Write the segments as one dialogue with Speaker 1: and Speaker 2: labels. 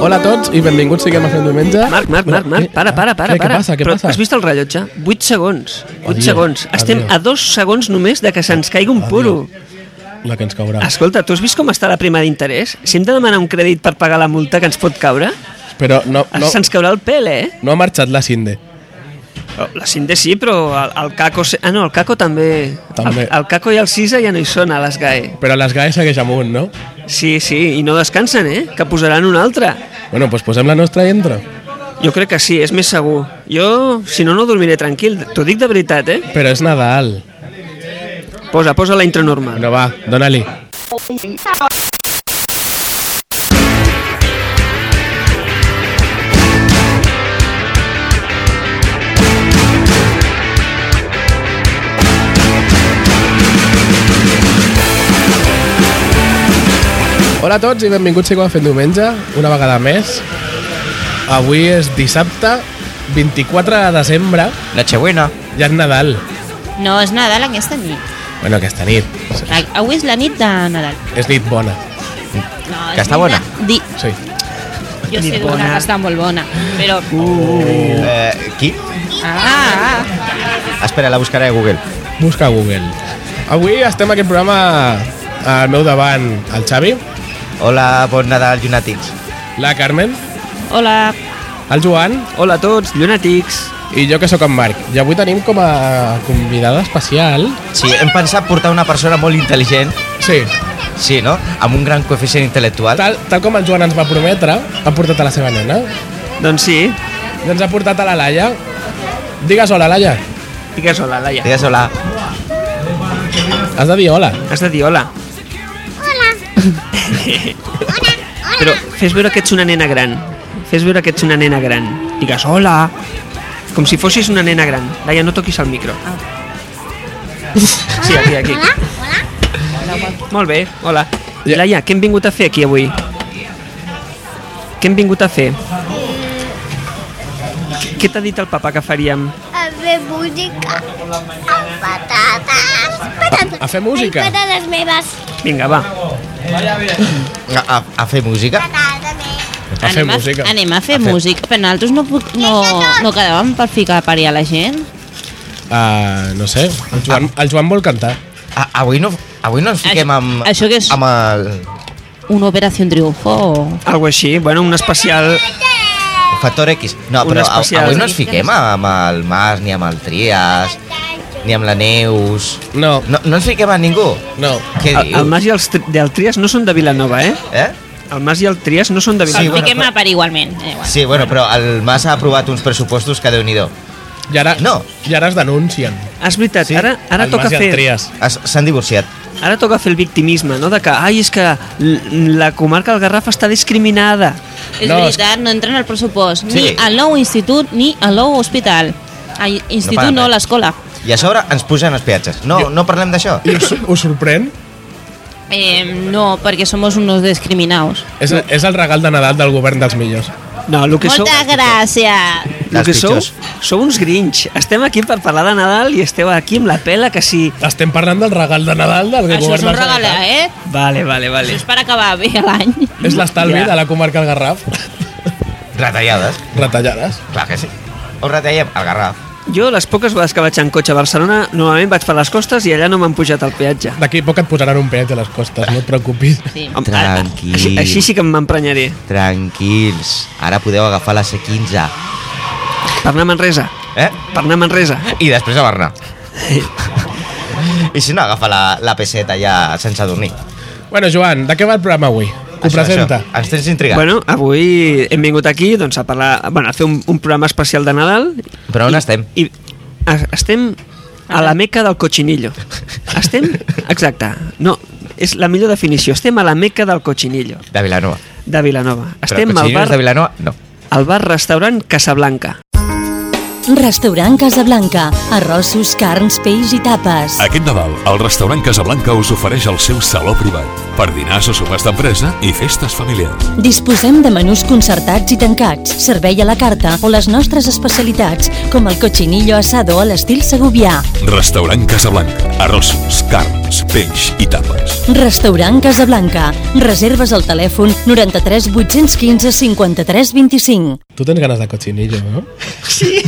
Speaker 1: Hola a tots i benvinguts siguem a fer diumenge.
Speaker 2: Marc, Marc, Marc, Marc, para, para, para.
Speaker 1: Què,
Speaker 2: para.
Speaker 1: què passa, què
Speaker 2: Però
Speaker 1: passa?
Speaker 2: Has vist el rellotge? 8 segons. 8
Speaker 1: Adiós,
Speaker 2: segons. Estem
Speaker 1: adiós.
Speaker 2: a 2 segons només de que se'ns caigui un puro.
Speaker 1: La que ens caurà.
Speaker 2: Escolta, tu has vist com està la prima d'interès? Si hem de demanar un crèdit per pagar la multa que ens pot caure,
Speaker 1: Però no,
Speaker 2: no.
Speaker 1: no,
Speaker 2: se'ns caurà el pèl, eh?
Speaker 1: no ha marxat la Cinde.
Speaker 2: Oh, La Cinde sí, però el, el Caco... se- Ah, no, el Caco també.
Speaker 1: També.
Speaker 2: El, el Caco i el Sisa ja no hi són, a les GAE.
Speaker 1: Però les GAE segueix amunt, no?
Speaker 2: Sí, sí, i no descansen, eh? Que posaran un altre.
Speaker 1: Bueno, doncs posem la nostra i entra.
Speaker 2: Jo crec que sí, és més segur. Jo, si no, no dormiré tranquil. T'ho dic de veritat, eh?
Speaker 1: Però és Nadal.
Speaker 2: Posa, posa la intro normal.
Speaker 1: Bueno, va, dóna-li. Hola a tots i benvinguts a Fent Diumenge, una vegada més. Avui és dissabte, 24 de desembre,
Speaker 3: Nochebuena.
Speaker 1: ja és Nadal.
Speaker 4: No, és Nadal aquesta nit.
Speaker 1: Bueno, aquesta nit.
Speaker 4: A- Avui és la nit de Nadal.
Speaker 1: És nit bona,
Speaker 4: No,
Speaker 3: Que està bona.
Speaker 4: Di...
Speaker 1: sí.
Speaker 4: Jo
Speaker 2: Nit
Speaker 4: sé d'una
Speaker 2: bona.
Speaker 4: que està molt bona, però...
Speaker 3: Eh, qui?
Speaker 4: Ah, ah,
Speaker 3: Espera, la buscaré a Google.
Speaker 1: Busca a Google. Avui estem a aquest programa eh, al meu davant el Xavi,
Speaker 3: Hola, bon Nadal, llunàtics.
Speaker 1: la Carmen,
Speaker 4: hola.
Speaker 1: el Joan
Speaker 2: Hola a tots, llunàtics.
Speaker 1: i jo que sóc en Marc. I avui tenim com a convidada especial...
Speaker 3: Sí, hem pensat portar una persona molt intel·ligent,
Speaker 1: Sí,
Speaker 3: sí, no? Amb un gran coeficient intel·lectual.
Speaker 1: tal, tal com el Joan ens va prometre, ha portat a la seva nena.
Speaker 2: Doncs sí,
Speaker 1: I ens ha portat a la Laia. Digues hola, Laia.
Speaker 2: digues hola, Laia.
Speaker 3: Digues hola.
Speaker 1: Has de dir hola.
Speaker 2: Has de dir hola. Hola. hola. Però fes veure que ets una nena gran. Fes veure que ets una nena gran. Digues hola. Com si fossis una nena gran. Laia, no toquis el micro. Sí, aquí, aquí. Ah. Hola, hola. Molt bé, hola.
Speaker 1: Ja.
Speaker 2: Laia, què hem vingut a fer aquí avui? Què hem vingut a fer? Eh. Què t'ha dit el papa que faríem?
Speaker 5: A fer música amb patates. patates.
Speaker 1: A fer música?
Speaker 5: Ai, patates meves.
Speaker 2: Vinga, va.
Speaker 3: A, a, a fer música?
Speaker 5: Patates meves.
Speaker 1: A fer música.
Speaker 4: anem a fer
Speaker 3: A fer-
Speaker 4: música, però nosaltres no, puc, no, no quedàvem per ficar a parir a la gent.
Speaker 1: Uh, no sé, el Joan, el Joan vol cantar.
Speaker 3: A, avui, no, avui no ens fiquem
Speaker 4: Això-
Speaker 3: amb...
Speaker 4: això què és?
Speaker 3: Amb el...
Speaker 4: Una operació triunfo o...
Speaker 2: Algo així, bueno, un especial...
Speaker 3: Factor X. No,
Speaker 2: Un
Speaker 3: però a,
Speaker 2: especial.
Speaker 3: avui no ens fiquem amb el Mas, ni amb el Trias, ni amb la Neus...
Speaker 1: No,
Speaker 3: No, no ens fiquem a ningú.
Speaker 1: no.
Speaker 3: Què
Speaker 2: El,
Speaker 3: dius?
Speaker 2: el Mas i els tri del Trias no són de Vilanova, eh?
Speaker 3: Eh?
Speaker 2: El Mas i el Trias no són de
Speaker 4: Sí,
Speaker 3: Sí,
Speaker 2: Vilanova.
Speaker 3: bueno,
Speaker 4: fiquem
Speaker 3: però-
Speaker 4: a parir igualment. Eh, igual.
Speaker 3: Sí, bueno, però el Mas ha aprovat uns pressupostos que Déu-n'hi-do.
Speaker 1: I ara,
Speaker 3: No.
Speaker 1: I ara es denuncien.
Speaker 2: Sí, Ah, és veritat,
Speaker 3: Sí,
Speaker 2: ara, ara,
Speaker 1: el
Speaker 2: toca
Speaker 1: Mas i el
Speaker 2: fer,
Speaker 1: Trias.
Speaker 3: Es- S'han divorciat.
Speaker 2: ara toca fer el victimisme, no? De que, ai, és que l- la comarca del Garraf està discriminada.
Speaker 4: És
Speaker 1: No, és-
Speaker 4: veritat, no entra en el pressupost,
Speaker 3: Sí.
Speaker 4: ni al nou institut ni al nou hospital. A institut
Speaker 3: paguen
Speaker 4: no,
Speaker 3: res.
Speaker 4: l'escola.
Speaker 3: I a sobre ens pugen els peatges. No, no parlem d'això.
Speaker 1: I us, us sorprèn?
Speaker 4: Eh, no, perquè somos unos discriminados.
Speaker 1: És, és el regal de Nadal del govern dels millors.
Speaker 2: No, el que sou...
Speaker 4: Moltes gràcies.
Speaker 2: El que
Speaker 3: Els
Speaker 2: sou,
Speaker 3: pitjors.
Speaker 2: sou uns grinx. Estem aquí per parlar de Nadal i esteu aquí amb la pela que sí...
Speaker 1: Estem parlant del regal de Nadal del
Speaker 4: Això
Speaker 1: govern
Speaker 4: és un
Speaker 1: dels
Speaker 4: regal, eh?
Speaker 2: Vale, vale, vale.
Speaker 4: Això és per acabar bé l'any.
Speaker 1: És l'estalvi
Speaker 2: Ja.
Speaker 1: de la comarca del Garraf.
Speaker 3: Retallades.
Speaker 1: Retallades.
Speaker 3: Clar que sí. O retallem el Garraf.
Speaker 2: Jo, les poques vegades que vaig en cotxe a Barcelona, normalment vaig per les costes i allà no m'han pujat el peatge.
Speaker 1: D'aquí a poc et posaran un peatge a les costes, no et preocupis.
Speaker 4: Sí.
Speaker 2: Am- a- a-
Speaker 3: Tranquil.
Speaker 2: Així, així sí que m'emprenyaré.
Speaker 3: Tranquils. Ara podeu agafar la C15.
Speaker 2: Per anar a Manresa.
Speaker 3: Eh?
Speaker 2: Per anar a Manresa.
Speaker 3: I després a Barna. I si no, agafa la, la peseta ja sense dormir.
Speaker 1: Bueno, Joan, de què va el programa avui? Ho
Speaker 3: Això,
Speaker 1: presenta.
Speaker 3: Això. Ens tens intrigat.
Speaker 2: Bueno, avui hem vingut aquí doncs, a parlar, bueno, a fer un, un programa especial de Nadal.
Speaker 3: Però on estem?
Speaker 2: I a, estem a la meca del cochinillo. Estem, exacte, no, és la millor definició. Estem a la meca del cochinillo
Speaker 3: De Vilanova.
Speaker 2: de Vilanova. Estem
Speaker 3: Però
Speaker 2: al
Speaker 3: cotxinillos
Speaker 2: bar,
Speaker 3: de Vilanova, no.
Speaker 2: al bar restaurant Casablanca.
Speaker 6: Restaurant Casablanca. Arrossos, carns, peix i tapes.
Speaker 7: Aquest Nadal, el restaurant Casablanca us ofereix el seu saló privat per dinars o sopars d'empresa i festes familiars.
Speaker 6: Disposem de menús concertats i tancats, servei a la carta o les nostres especialitats, com el cochinillo asado a l'estil segovià.
Speaker 7: Restaurant Casablanca, arrossos, carns, peix i tapes.
Speaker 6: Restaurant Casablanca. Reserves al telèfon 93 815 53 25.
Speaker 1: Tu tens ganes de cochinillo, no? Sí.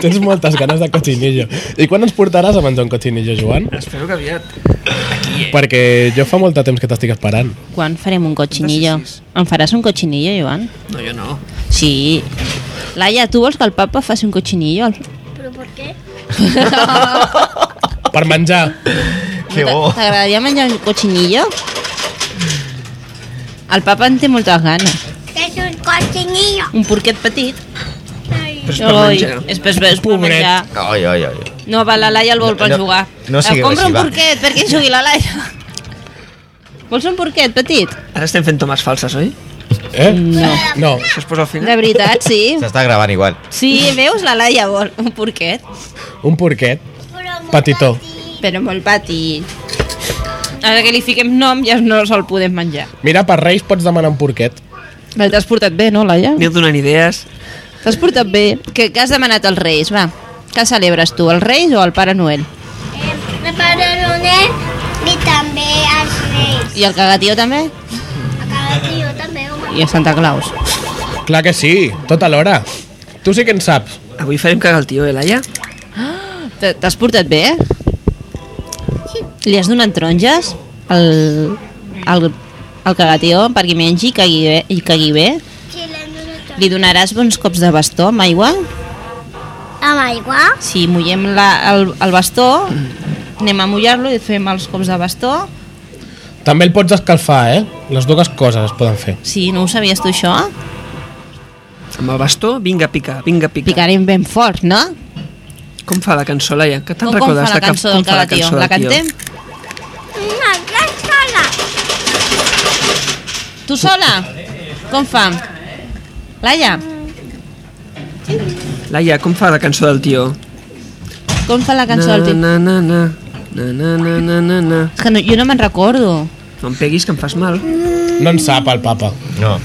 Speaker 1: Tens moltes ganes de cochinillo. I quan ens portaràs a menjar un cochinillo, Joan?
Speaker 2: Espero que aviat.
Speaker 1: Perquè jo fa molt de temps que t'estic esperant.
Speaker 4: Quan farem un cochinillo? Em faràs un cochinillo, Joan?
Speaker 2: No, jo no.
Speaker 4: Sí. Laia, tu vols que el papa faci un cochinillo?
Speaker 5: ¿Pero por qué?
Speaker 1: Per menjar.
Speaker 3: Que bo.
Speaker 4: T'agradaria menjar un cochinillo? El papa en té moltes ganes.
Speaker 5: Es un cochinillo.
Speaker 4: Un porquet petit.
Speaker 2: Però és per
Speaker 4: Oi,
Speaker 2: menjar.
Speaker 4: és per, és per
Speaker 1: Pobret.
Speaker 4: menjar.
Speaker 3: Oi, oi, oi.
Speaker 4: No, va, la Laia el vol
Speaker 3: No,
Speaker 4: per
Speaker 3: no,
Speaker 4: jugar.
Speaker 3: no sigueu
Speaker 4: Eh, Compra
Speaker 3: així,
Speaker 4: un
Speaker 3: va.
Speaker 4: porquet perquè jugui la Laia. Vols un porquet petit?
Speaker 2: Ara estem fent tomes falses, oi?
Speaker 1: Eh? No. No.
Speaker 2: Això es posa al
Speaker 4: De
Speaker 2: final.
Speaker 4: veritat, sí.
Speaker 3: S'està gravant igual.
Speaker 4: Sí, veus, la Laia vol un porquet,
Speaker 1: Un porquet.
Speaker 5: Pero muy
Speaker 1: Patito.
Speaker 5: fácil.
Speaker 4: però molt petit. Ara que li fiquem nom ja no se'l podem menjar.
Speaker 1: Mira, per Reis pots demanar un porquet.
Speaker 4: Bé, T'has portat bé, no, Laia?
Speaker 2: Aneu donant idees.
Speaker 4: T'has portat bé. Què, què has demanat als Reis, va? Què celebres tu, els Reis o el Pare Noel?
Speaker 5: Eh, prepararon él y también al rey.
Speaker 4: I el cagatió també?
Speaker 5: Acá yo también.
Speaker 4: I a Santa Claus.
Speaker 1: Clar que sí, tot alhora. Tu sí que en saps.
Speaker 2: Avui farem cagar el tio, eh, Laia?
Speaker 4: T- T'has portat bé? Li has donat taronges al, al, al cagatió perquè mengi i cagui bé, i cagui bé?
Speaker 5: Chileno no está.
Speaker 4: Li donaràs bons cops de bastó amb aigua?
Speaker 5: Amaigua.
Speaker 4: Si mullem la, el, el bastó, anem a mullar-lo i fem els cops de bastó.
Speaker 1: També el pots escalfar, eh? Les dues coses es poden fer.
Speaker 4: Si no ho sabies tu això,
Speaker 2: Amb el bastó, vinga, pica, vinga, pica.
Speaker 4: picarem ben fort, no?
Speaker 2: Com fa la cançó, Laia? Que te'n
Speaker 4: Com, com
Speaker 2: recordes
Speaker 4: fa la
Speaker 2: de cap-
Speaker 4: cançó del
Speaker 2: com fa
Speaker 4: cagatió?
Speaker 2: cançó
Speaker 4: La
Speaker 2: del tio?
Speaker 4: cantem?
Speaker 5: Una gran sala.
Speaker 4: Tu sola? Com fa? Laia,
Speaker 2: Laia, com fa la cançó del tio?
Speaker 4: com fa la cançó del tio?
Speaker 2: Na, na, na, na, na, na, na, na, na.
Speaker 4: És que no, jo no me'n recordo.
Speaker 2: No em peguis, que em fas mal.
Speaker 1: No en sap el papa.
Speaker 3: No.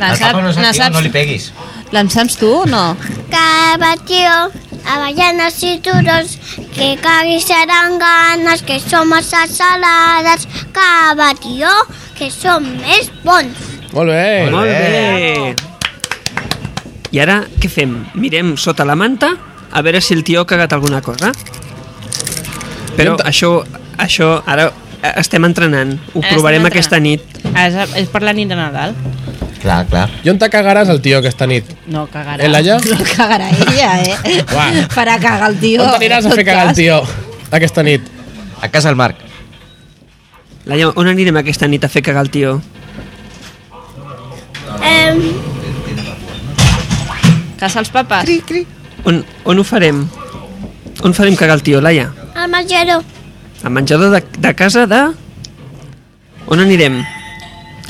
Speaker 4: La,
Speaker 3: Al
Speaker 4: sap,
Speaker 3: papa no,
Speaker 4: la
Speaker 3: sap, tio,
Speaker 4: saps,
Speaker 3: no li peguis.
Speaker 4: la saps tu o no?
Speaker 5: Caballo, avellanas y duros, que cagues serán ganas, que somos saladas. Caballo, que son més bons.
Speaker 1: Molt bé.
Speaker 3: Molt
Speaker 2: Molt
Speaker 3: bé.
Speaker 2: bé. I ara què fem? Mirem sota la manta a veure si el tio ha cagat alguna cosa. Però això, això ara eh, estem entrenant. Ho
Speaker 4: Ara
Speaker 2: provarem
Speaker 4: estem
Speaker 2: aquesta
Speaker 4: entrenant.
Speaker 2: nit.
Speaker 4: Ah, És, és per la nit de Nadal.
Speaker 3: Clar, clar.
Speaker 1: I on te cagaràs el tio aquesta nit?
Speaker 4: No cagarà.
Speaker 1: Eh, Laia?
Speaker 4: No cagarà ella, eh?
Speaker 1: Uà.
Speaker 4: Farà cagar el tio.
Speaker 1: On t'aniràs a
Speaker 4: en tot
Speaker 1: fer cagar el
Speaker 4: cas.
Speaker 1: tio aquesta nit?
Speaker 3: A casa el Marc.
Speaker 2: Laia, on anirem aquesta nit a fer cagar el tio?
Speaker 5: Eh,
Speaker 4: Casa els papes. Cri, cri.
Speaker 2: On, on ho farem? On farem cagar el tio, Laia?
Speaker 5: el majero,
Speaker 2: Al menjador de, de casa de... On anirem?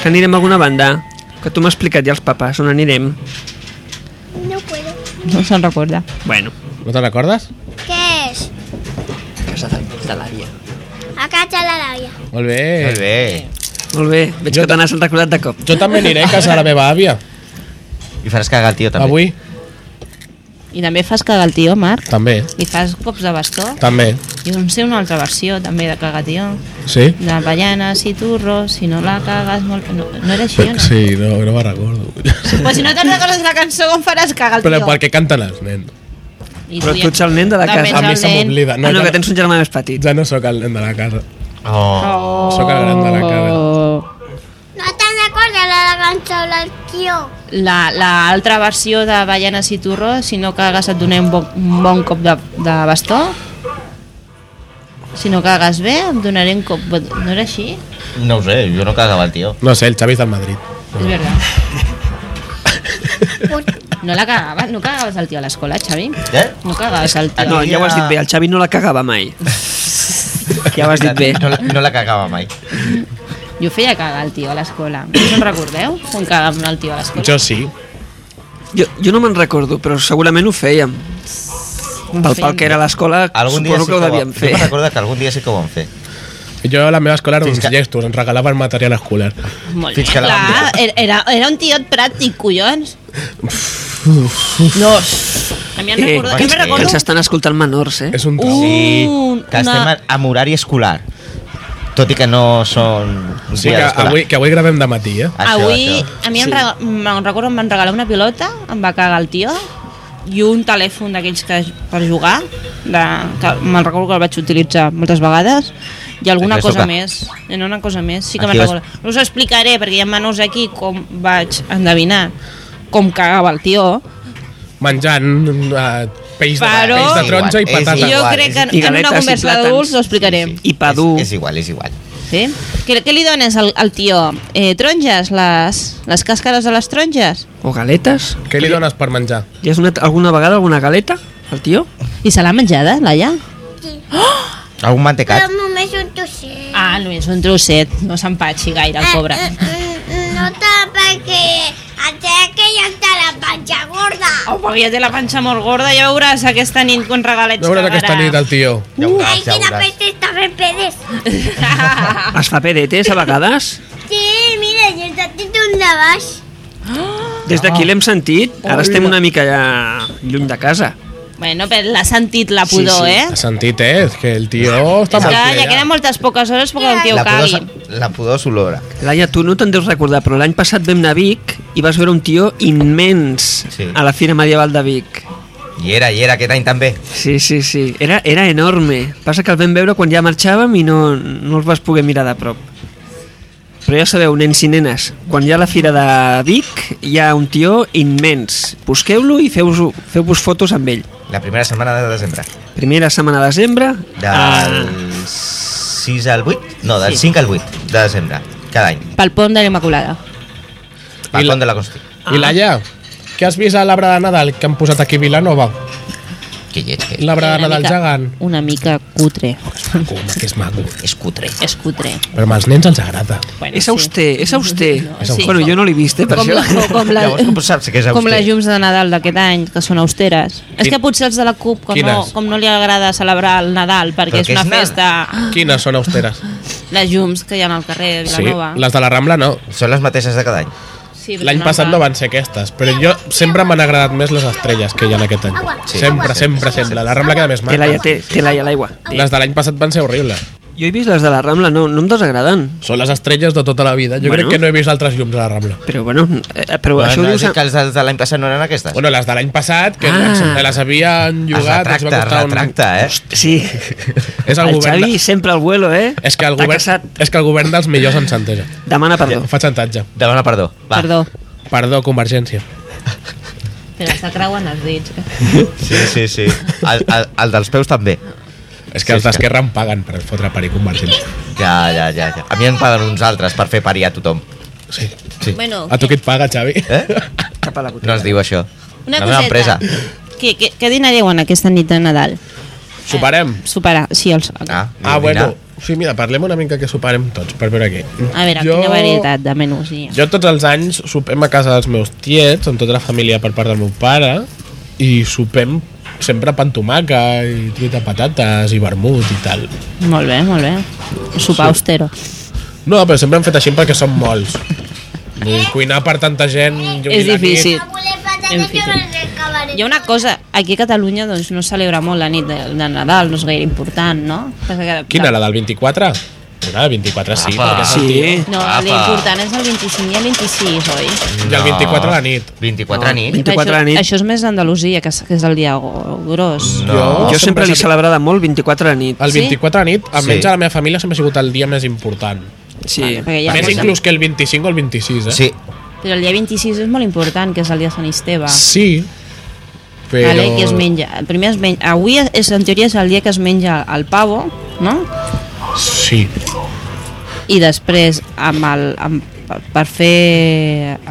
Speaker 2: Que anirem a alguna banda? Que tu m'has explicat ja els papàs, on anirem?
Speaker 5: no puedo.
Speaker 4: No se'n recorda.
Speaker 2: Bueno,
Speaker 1: No te'n recordes?
Speaker 5: ¿Qué es?
Speaker 2: casa de, de l'àvia.
Speaker 5: Acá está la labia.
Speaker 1: Molt bé.
Speaker 3: Molt bé.
Speaker 2: Molt bé, veig
Speaker 1: Jo
Speaker 2: que te n'has recordat de cop.
Speaker 1: Jo també aniré a casa de la meva àvia.
Speaker 3: I faràs cagar el tio també.
Speaker 1: Avui?
Speaker 4: I també fas cagar el tio, Marc.
Speaker 1: També.
Speaker 4: Li fas cops de bastó.
Speaker 1: També.
Speaker 4: Jo em sé una altra versió, també, de cagar tio.
Speaker 1: Sí?
Speaker 4: De ballanes i turros, si no la cagues molt... No, no era així, o no?
Speaker 1: Sí, no, no me recordo.
Speaker 4: Pues si no te'n recordes la cançó, com faràs cagar el
Speaker 1: Però
Speaker 4: tio?
Speaker 1: per què canten els nens?
Speaker 4: I
Speaker 2: Però tu
Speaker 4: ja-
Speaker 2: ets el nen de la
Speaker 4: També
Speaker 2: casa.
Speaker 4: ets
Speaker 1: A mi
Speaker 4: el
Speaker 1: se
Speaker 4: nen.
Speaker 1: m'oblida.
Speaker 2: No, ah, no,
Speaker 1: ja,
Speaker 2: que tens un germà més petit.
Speaker 1: ja no sóc el nen de la casa.
Speaker 3: Oh.
Speaker 1: Sóc el gran de la
Speaker 4: Oh.
Speaker 1: casa.
Speaker 5: No te'n recordes la de cançó del tio.
Speaker 4: la, la altra versió de Ballanes i Turros, si no cagues et donem bo, un bon cop de, de bastó. Si no cagues bé, et donaré un cop... No era així?
Speaker 3: No ho sé, jo no cagava el tio.
Speaker 1: No sé, el Xavi és del Madrid.
Speaker 4: És veritat. No la cagava, no cagaves el tio a l'escola, Xavi?
Speaker 3: Eh?
Speaker 4: No cagaves el tio.
Speaker 2: No, ja ho has dit bé, el Xavi no la cagava mai. ja ho has dit bé.
Speaker 3: No, la- no la cagava mai.
Speaker 4: Jo feia cagar el tio a l'escola. No us en recordeu? Quan cagàvem el tio a l'escola?
Speaker 1: Jo sí.
Speaker 2: Jo, jo no me'n recordo, però segurament ho fèiem. Pel pal que era l'escola,
Speaker 3: Algun dia
Speaker 2: suposo
Speaker 3: sí
Speaker 2: que ho
Speaker 3: ho
Speaker 2: devíem
Speaker 3: vam-
Speaker 2: fer.
Speaker 3: Jo me'n recordo que algun dia sí que ho vam fer.
Speaker 1: Jo a la meva escola era
Speaker 3: Fins
Speaker 1: uns
Speaker 3: que-
Speaker 1: gestos, ens regalaven material escolar.
Speaker 4: Molt
Speaker 3: Fins
Speaker 4: bé,
Speaker 3: que la van
Speaker 4: clar, era, era un tiot pràctic, collons. No, A mi em recorda...
Speaker 3: que-
Speaker 4: jo me'n
Speaker 2: Eh, que
Speaker 4: recordo
Speaker 2: ens estan escoltant menors, eh?
Speaker 1: És un
Speaker 4: Uh,
Speaker 1: trauma.
Speaker 3: Sí,
Speaker 4: Un-
Speaker 3: que estem
Speaker 4: una-
Speaker 3: en- amb horari escolar. Tot i que no són
Speaker 1: Sí,
Speaker 3: dies
Speaker 1: que
Speaker 3: escolar.
Speaker 1: avui, que avui gravem de matí, eh?
Speaker 3: Ah, Això,
Speaker 4: Avui,
Speaker 3: això.
Speaker 4: a mi em,
Speaker 2: Sí.
Speaker 4: rega- me'n recordo, em van regalar una pilota, em va cagar el tio, i un telèfon d'aquells que per jugar, de, que me'n recordo que el vaig utilitzar moltes vegades, i alguna
Speaker 3: Després
Speaker 4: cosa
Speaker 3: toca.
Speaker 4: més, i no una cosa més, sí que
Speaker 3: Aquí
Speaker 4: me'n
Speaker 3: vas-
Speaker 4: recordo. No us explicaré, perquè hi ha menús aquí, com vaig endevinar com cagava el tio,
Speaker 1: Menjant eh, peix, de,
Speaker 4: Però-
Speaker 1: peix de taronja i
Speaker 3: És igual,
Speaker 1: patata.
Speaker 4: i jo
Speaker 3: igual,
Speaker 4: crec
Speaker 3: és-
Speaker 4: que en,
Speaker 2: I
Speaker 4: en
Speaker 2: galetes
Speaker 4: una
Speaker 2: i
Speaker 4: conversa
Speaker 2: plàtans.
Speaker 4: d'adults ho explicarem.
Speaker 2: I pa dur.
Speaker 3: És, és igual, és igual.
Speaker 4: Sí? Què, què li dones al, al tio? Eh, taronges? Les, les càscares de les taronges?
Speaker 2: O galetes.
Speaker 1: Què li dones per menjar?
Speaker 2: Ja has donat alguna vegada alguna galeta al tio?
Speaker 4: I se l'ha menjada, Laia?
Speaker 3: Algun mantecat?
Speaker 5: Però
Speaker 2: Em-
Speaker 5: només un tosset.
Speaker 4: Ah, només un trosset, no s'empatxi gaire el pobre.
Speaker 5: Eh, eh, eh, No tant perquè et deia que ja està la panxa gorda.
Speaker 4: Au, però ja té la panxa molt gorda, ja veuràs aquesta nit com regalets
Speaker 1: No veuràs aquesta nit
Speaker 4: cagarà.
Speaker 1: el tio.
Speaker 3: Ja ho
Speaker 5: Ai,
Speaker 3: veuràs, ja ho
Speaker 5: quina
Speaker 3: veuràs.
Speaker 5: peste està fent pedes.
Speaker 2: Es fa PDTs a vegades?
Speaker 5: Sí, mira, jo he sentit un de baix.
Speaker 2: Des d'aquí l'hem sentit. Ara estem una mica ja lluny de casa.
Speaker 4: Bueno, però l'ha sentit la pudor,
Speaker 2: Sí, sí.
Speaker 4: eh?
Speaker 1: Has sentit, eh? És que el tio està
Speaker 4: És
Speaker 1: molt
Speaker 4: que ja
Speaker 1: ple,
Speaker 4: queden moltes poques hores perquè el tio
Speaker 3: La pudor,
Speaker 4: cagui.
Speaker 3: se- la pudor s'olora.
Speaker 2: Laia, tu no te'n deus recordar, però l'any passat vam anar a Vic i vas veure un tio immens
Speaker 3: Sí.
Speaker 2: a la Fira Medieval de Vic.
Speaker 3: I era, i era aquest any també.
Speaker 2: Sí, sí, sí. Era, era enorme. Passa que el vam veure quan ja marxàvem i no, no els vas poder mirar de prop. Però ja sabeu, nens i nenes, quan hi ha la fira de Vic hi ha un tio immens. Busqueu-lo i feu-vos feu fotos amb ell.
Speaker 3: La primera setmana de desembre.
Speaker 2: Primera setmana de desembre...
Speaker 3: Del
Speaker 2: a-
Speaker 3: 6 al 8? No, del 5 al 8 de desembre. Cada any.
Speaker 4: Pel pont de l'Immaculada.
Speaker 1: I
Speaker 3: Pel
Speaker 1: la-
Speaker 3: pont de la Consti.
Speaker 1: I Laia, què has vist a l'arbre de Nadal que han posat aquí a Vilanova?
Speaker 3: Que lleig que és.
Speaker 1: L'arbre de
Speaker 4: Una
Speaker 1: Nadal
Speaker 4: mica-
Speaker 1: gegant.
Speaker 4: Una mica cutre.
Speaker 1: Home, que és maco.
Speaker 3: És cutre.
Speaker 4: És cutre.
Speaker 1: Però als nens els agrada.
Speaker 4: Bueno,
Speaker 2: Ah, És
Speaker 4: sí.
Speaker 2: auster, és auster.
Speaker 4: sí.
Speaker 2: Bueno, jo no l'he vist, eh, per
Speaker 4: Com,
Speaker 2: això.
Speaker 4: la, o com, la,
Speaker 3: Llavors com saps que és
Speaker 4: com
Speaker 3: auster?
Speaker 4: les llums de Nadal d'aquest any, que són austeres. És que potser els de la CUP, com, no,
Speaker 1: Quines?
Speaker 4: com no li agrada celebrar el Nadal, perquè
Speaker 3: Però
Speaker 4: és
Speaker 3: què
Speaker 4: una
Speaker 3: és Nadal?
Speaker 4: festa...
Speaker 1: Quines són austeres?
Speaker 4: Les llums que hi ha al carrer de
Speaker 1: Sí,
Speaker 4: Vilanova.
Speaker 1: les de la Rambla no.
Speaker 3: Són les mateixes de cada any.
Speaker 4: Sí,
Speaker 1: L'any passat no van ser aquestes, però jo sempre m'han agradat més les estrelles que hi ha en aquest any.
Speaker 5: Sí.
Speaker 1: Sempre, sempre, sempre. La Rambla queda més
Speaker 2: Té
Speaker 1: maca.
Speaker 2: Laia, té, té Laia l'aigua.
Speaker 1: Les de l'any passat van ser horribles.
Speaker 2: Jo he vist les de la Rambla, no, no em desagraden.
Speaker 1: Són les estrelles de tota la vida. Jo
Speaker 2: Bueno.
Speaker 1: crec que no he vist altres llums a la Rambla.
Speaker 2: Però bueno, eh, però
Speaker 3: Bueno,
Speaker 2: això
Speaker 3: no,
Speaker 2: ho
Speaker 3: has
Speaker 2: dius...
Speaker 3: dit que
Speaker 2: a-
Speaker 3: els de- de l'any passat no eren aquestes.
Speaker 1: Bueno, les de l'any passat, que
Speaker 2: Ah.
Speaker 1: ah. les havien
Speaker 3: es
Speaker 1: llogat... els
Speaker 3: retracta,
Speaker 1: va
Speaker 3: es
Speaker 1: costar
Speaker 3: retracta, eh?
Speaker 2: Sí,
Speaker 1: Un... És el,
Speaker 2: el
Speaker 1: govern...
Speaker 2: Xavi
Speaker 1: De...
Speaker 2: sempre al vuelo, eh?
Speaker 1: És que el
Speaker 2: Està
Speaker 1: govern,
Speaker 2: casat.
Speaker 1: és que el govern dels millors ens santeja.
Speaker 2: Demana perdó.
Speaker 1: Fa xantatge.
Speaker 3: Demana perdó. Va.
Speaker 4: Perdó,
Speaker 1: Perdó, Convergència.
Speaker 4: però se creuen els dits.
Speaker 3: Sí, sí, sí. El, el, el dels peus també.
Speaker 1: És
Speaker 3: Sí,
Speaker 1: que els
Speaker 3: és que-
Speaker 1: d'Esquerra em paguen per fotre parir Convergència.
Speaker 3: Ja, ja, ja. ja. A mi em paguen uns altres per fer parir a tothom.
Speaker 1: Sí.
Speaker 3: Sí.
Speaker 4: Bueno,
Speaker 1: A tu qui et paga, Xavi?
Speaker 3: Eh?
Speaker 2: Cap a la
Speaker 3: No
Speaker 2: botiga.
Speaker 3: es diu això.
Speaker 4: una
Speaker 3: la meva empresa.
Speaker 4: coseta. Què, què, què dinareu en aquesta nit de Nadal?
Speaker 1: Soparem.
Speaker 4: Superar, sí, els...
Speaker 3: Ah,
Speaker 1: Ah,
Speaker 3: dinar.
Speaker 1: bueno. Sí, mira, parlem una mica que soparem tots, per veure què.
Speaker 4: A veure, jo... quina varietat de menús hi ha.
Speaker 1: Jo tots els anys sopem a casa dels meus tiets, amb tota la família per part del meu pare, i sopem sempre pa amb tomaca i truita amb patates i vermut i tal.
Speaker 4: Molt bé, molt bé. Sopar austero.
Speaker 1: No, però sempre hem fet així perquè som molts. I cuinar per tanta gent... jo
Speaker 4: És
Speaker 1: i la nit-
Speaker 4: difícil.
Speaker 5: No voler patates,
Speaker 4: En fi,
Speaker 5: jo
Speaker 4: sí.
Speaker 5: me'n recabaré.
Speaker 4: Hi ha una cosa, aquí a Catalunya doncs, no es celebra molt la nit de, de Nadal, no és gaire important, no? Passa que,
Speaker 1: Quina, la del 24? La del 24 sí,
Speaker 3: Apa.
Speaker 1: perquè és el Ah, tio.
Speaker 2: Sí,
Speaker 4: No,
Speaker 3: Apa.
Speaker 4: l'important és el 25 i el 26, oi?
Speaker 1: I el 24 a la nit.
Speaker 3: 24 a la nit?
Speaker 2: 24 a la nit.
Speaker 4: Això, això és més Andalusia, que, és- que és el dia go- gros.
Speaker 3: No.
Speaker 2: Jo sempre l'he celebrada molt, 24 a la nit.
Speaker 1: El 24 a la nit, almenys
Speaker 3: Sí.
Speaker 1: a la meva família, sempre ha sigut el dia més important.
Speaker 2: Sí.
Speaker 4: Vale, perquè
Speaker 1: Ja,
Speaker 4: ja
Speaker 1: més
Speaker 4: posa-
Speaker 1: inclús que el 25 o el 26, eh?
Speaker 3: Sí.
Speaker 4: Però el dia 26 és molt important, que és el dia de Sant Esteve.
Speaker 1: Sí, però...
Speaker 4: Vale, que Ah. es menja. El primer es menja. Avui és, en teoria és el dia que es menja el pavo, no?
Speaker 1: Sí.
Speaker 4: I després amb el, amb, per- per fer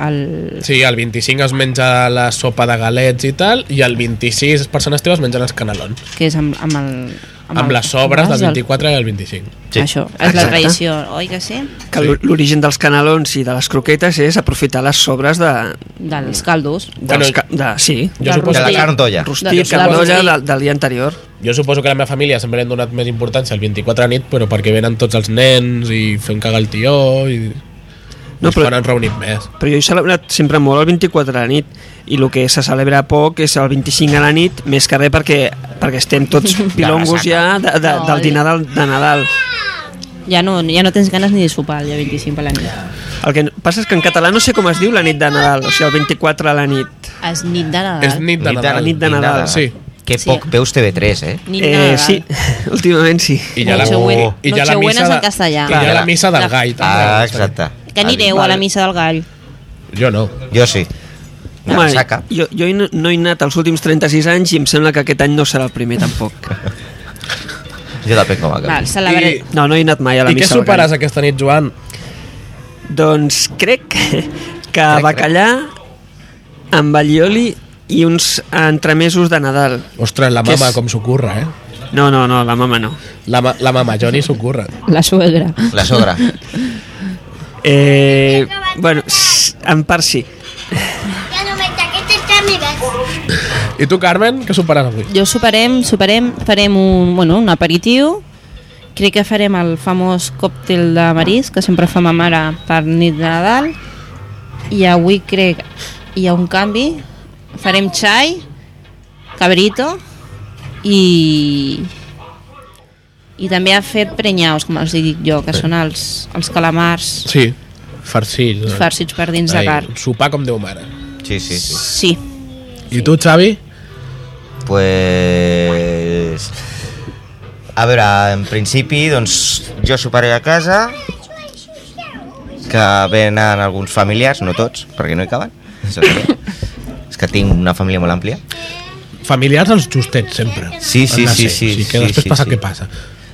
Speaker 4: el...
Speaker 1: Sí, el 25 es menja la sopa de galets i tal, i el 26 persones teves mengen els canelons.
Speaker 4: que és amb, amb el...
Speaker 1: Amb,
Speaker 4: el-
Speaker 1: les sobres
Speaker 4: vas
Speaker 1: del 24 i el 25.
Speaker 3: Sí.
Speaker 4: Això, és
Speaker 2: Exacte.
Speaker 4: la tradició, oi que sí?
Speaker 2: Que l'o- l'origen dels canelons i de les croquetes és aprofitar les sobres de...
Speaker 4: Dels caldos.
Speaker 1: Bueno,
Speaker 2: dels ca- de, sí,
Speaker 1: Jo
Speaker 4: Del
Speaker 3: De
Speaker 1: suposo,
Speaker 3: la
Speaker 4: Rostit.
Speaker 3: carn d'olla.
Speaker 2: rostit,
Speaker 4: de- de-
Speaker 2: canolla
Speaker 4: de-
Speaker 2: del, del dia anterior.
Speaker 1: jo suposo que a la meva família sempre li han donat més importància el 24 a la nit, però perquè venen tots els nens i fem cagar el tió i... No, però... Quan ens reunim més.
Speaker 2: Però jo he celebrat sempre molt el 24 a la nit i el que se celebra poc és el 25 a la nit, més que res perquè, perquè estem tots pilongos ja de, de,
Speaker 4: No,
Speaker 2: del dinar de, de Nadal.
Speaker 4: Ja no, ja no tens ganes ni de sopar el dia 25 a la nit.
Speaker 2: El que passa és que en català no sé com es diu la nit de Nadal, o sigui, el 24 a la nit.
Speaker 4: És nit de Nadal.
Speaker 1: És nit de Nadal.
Speaker 2: nit de Nadal.
Speaker 1: Sí.
Speaker 3: Que
Speaker 4: Sí.
Speaker 3: poc veus TV3, eh?
Speaker 4: Nit de Nadal.
Speaker 2: sí, últimament sí.
Speaker 1: I ja la,
Speaker 4: Nochebuena-
Speaker 1: i ja la
Speaker 4: Nochebuena
Speaker 1: missa
Speaker 4: és en
Speaker 1: de-
Speaker 4: castellà.
Speaker 1: I ja la
Speaker 3: Clar.
Speaker 1: missa del
Speaker 4: La-
Speaker 1: gai. també.
Speaker 3: Ah, exacte.
Speaker 4: Que anireu a la missa del gall.
Speaker 1: Jo no.
Speaker 3: Jo sí. Una
Speaker 2: Home,
Speaker 3: ressaca.
Speaker 2: jo, jo hi no, no he anat els últims 36 anys i em sembla que aquest any no serà el primer tampoc.
Speaker 3: Jo depèn com acabi.
Speaker 4: Val, celebraré.
Speaker 1: I-
Speaker 2: No, no he anat mai a la
Speaker 1: I què
Speaker 2: missa. del
Speaker 1: superaràs aquesta nit, Joan?
Speaker 2: gall. Doncs crec que bacallà amb allioli i uns entremesos de Nadal.
Speaker 1: Ostres, la
Speaker 2: Què
Speaker 1: mama
Speaker 2: és?
Speaker 1: com s'ho curra, eh?
Speaker 2: No, no, no, la mama no.
Speaker 1: La, ma- la mama Johnny s'ho curra.
Speaker 4: La suegra.
Speaker 3: La sogra.
Speaker 2: Eh, bueno, s- en part sí.
Speaker 5: Ya no me este taquetes, ya me ves.
Speaker 1: I tu, Carmen, què superaràs avui?
Speaker 4: Jo soparem, soparem, farem un, bueno, un aperitiu, crec que farem el famós còctel de marisc que sempre fa ma mare per nit de Nadal i avui crec hi ha un canvi farem xai cabrito i i també ha fet prenyaus com els dic jo, que són els, els calamars
Speaker 1: Sí, farcits. eh?
Speaker 4: farcits per dins de carn
Speaker 1: Sopar com Déu mare.
Speaker 3: Sí, sí, sí.
Speaker 4: sí,
Speaker 1: I tu, Xavi?
Speaker 3: Pues... A veure, en principi, doncs, jo soparé a casa, que venen alguns familiars, no tots, perquè no hi caben. És el que hi ha. És que tinc una família molt àmplia.
Speaker 1: Familiars els justets, sempre.
Speaker 3: Sí, sí,
Speaker 1: Han de
Speaker 3: sí, sí,
Speaker 1: ser, o sigui, que
Speaker 3: sí,
Speaker 1: després
Speaker 3: sí,
Speaker 1: passa
Speaker 3: sí.
Speaker 1: el que passa.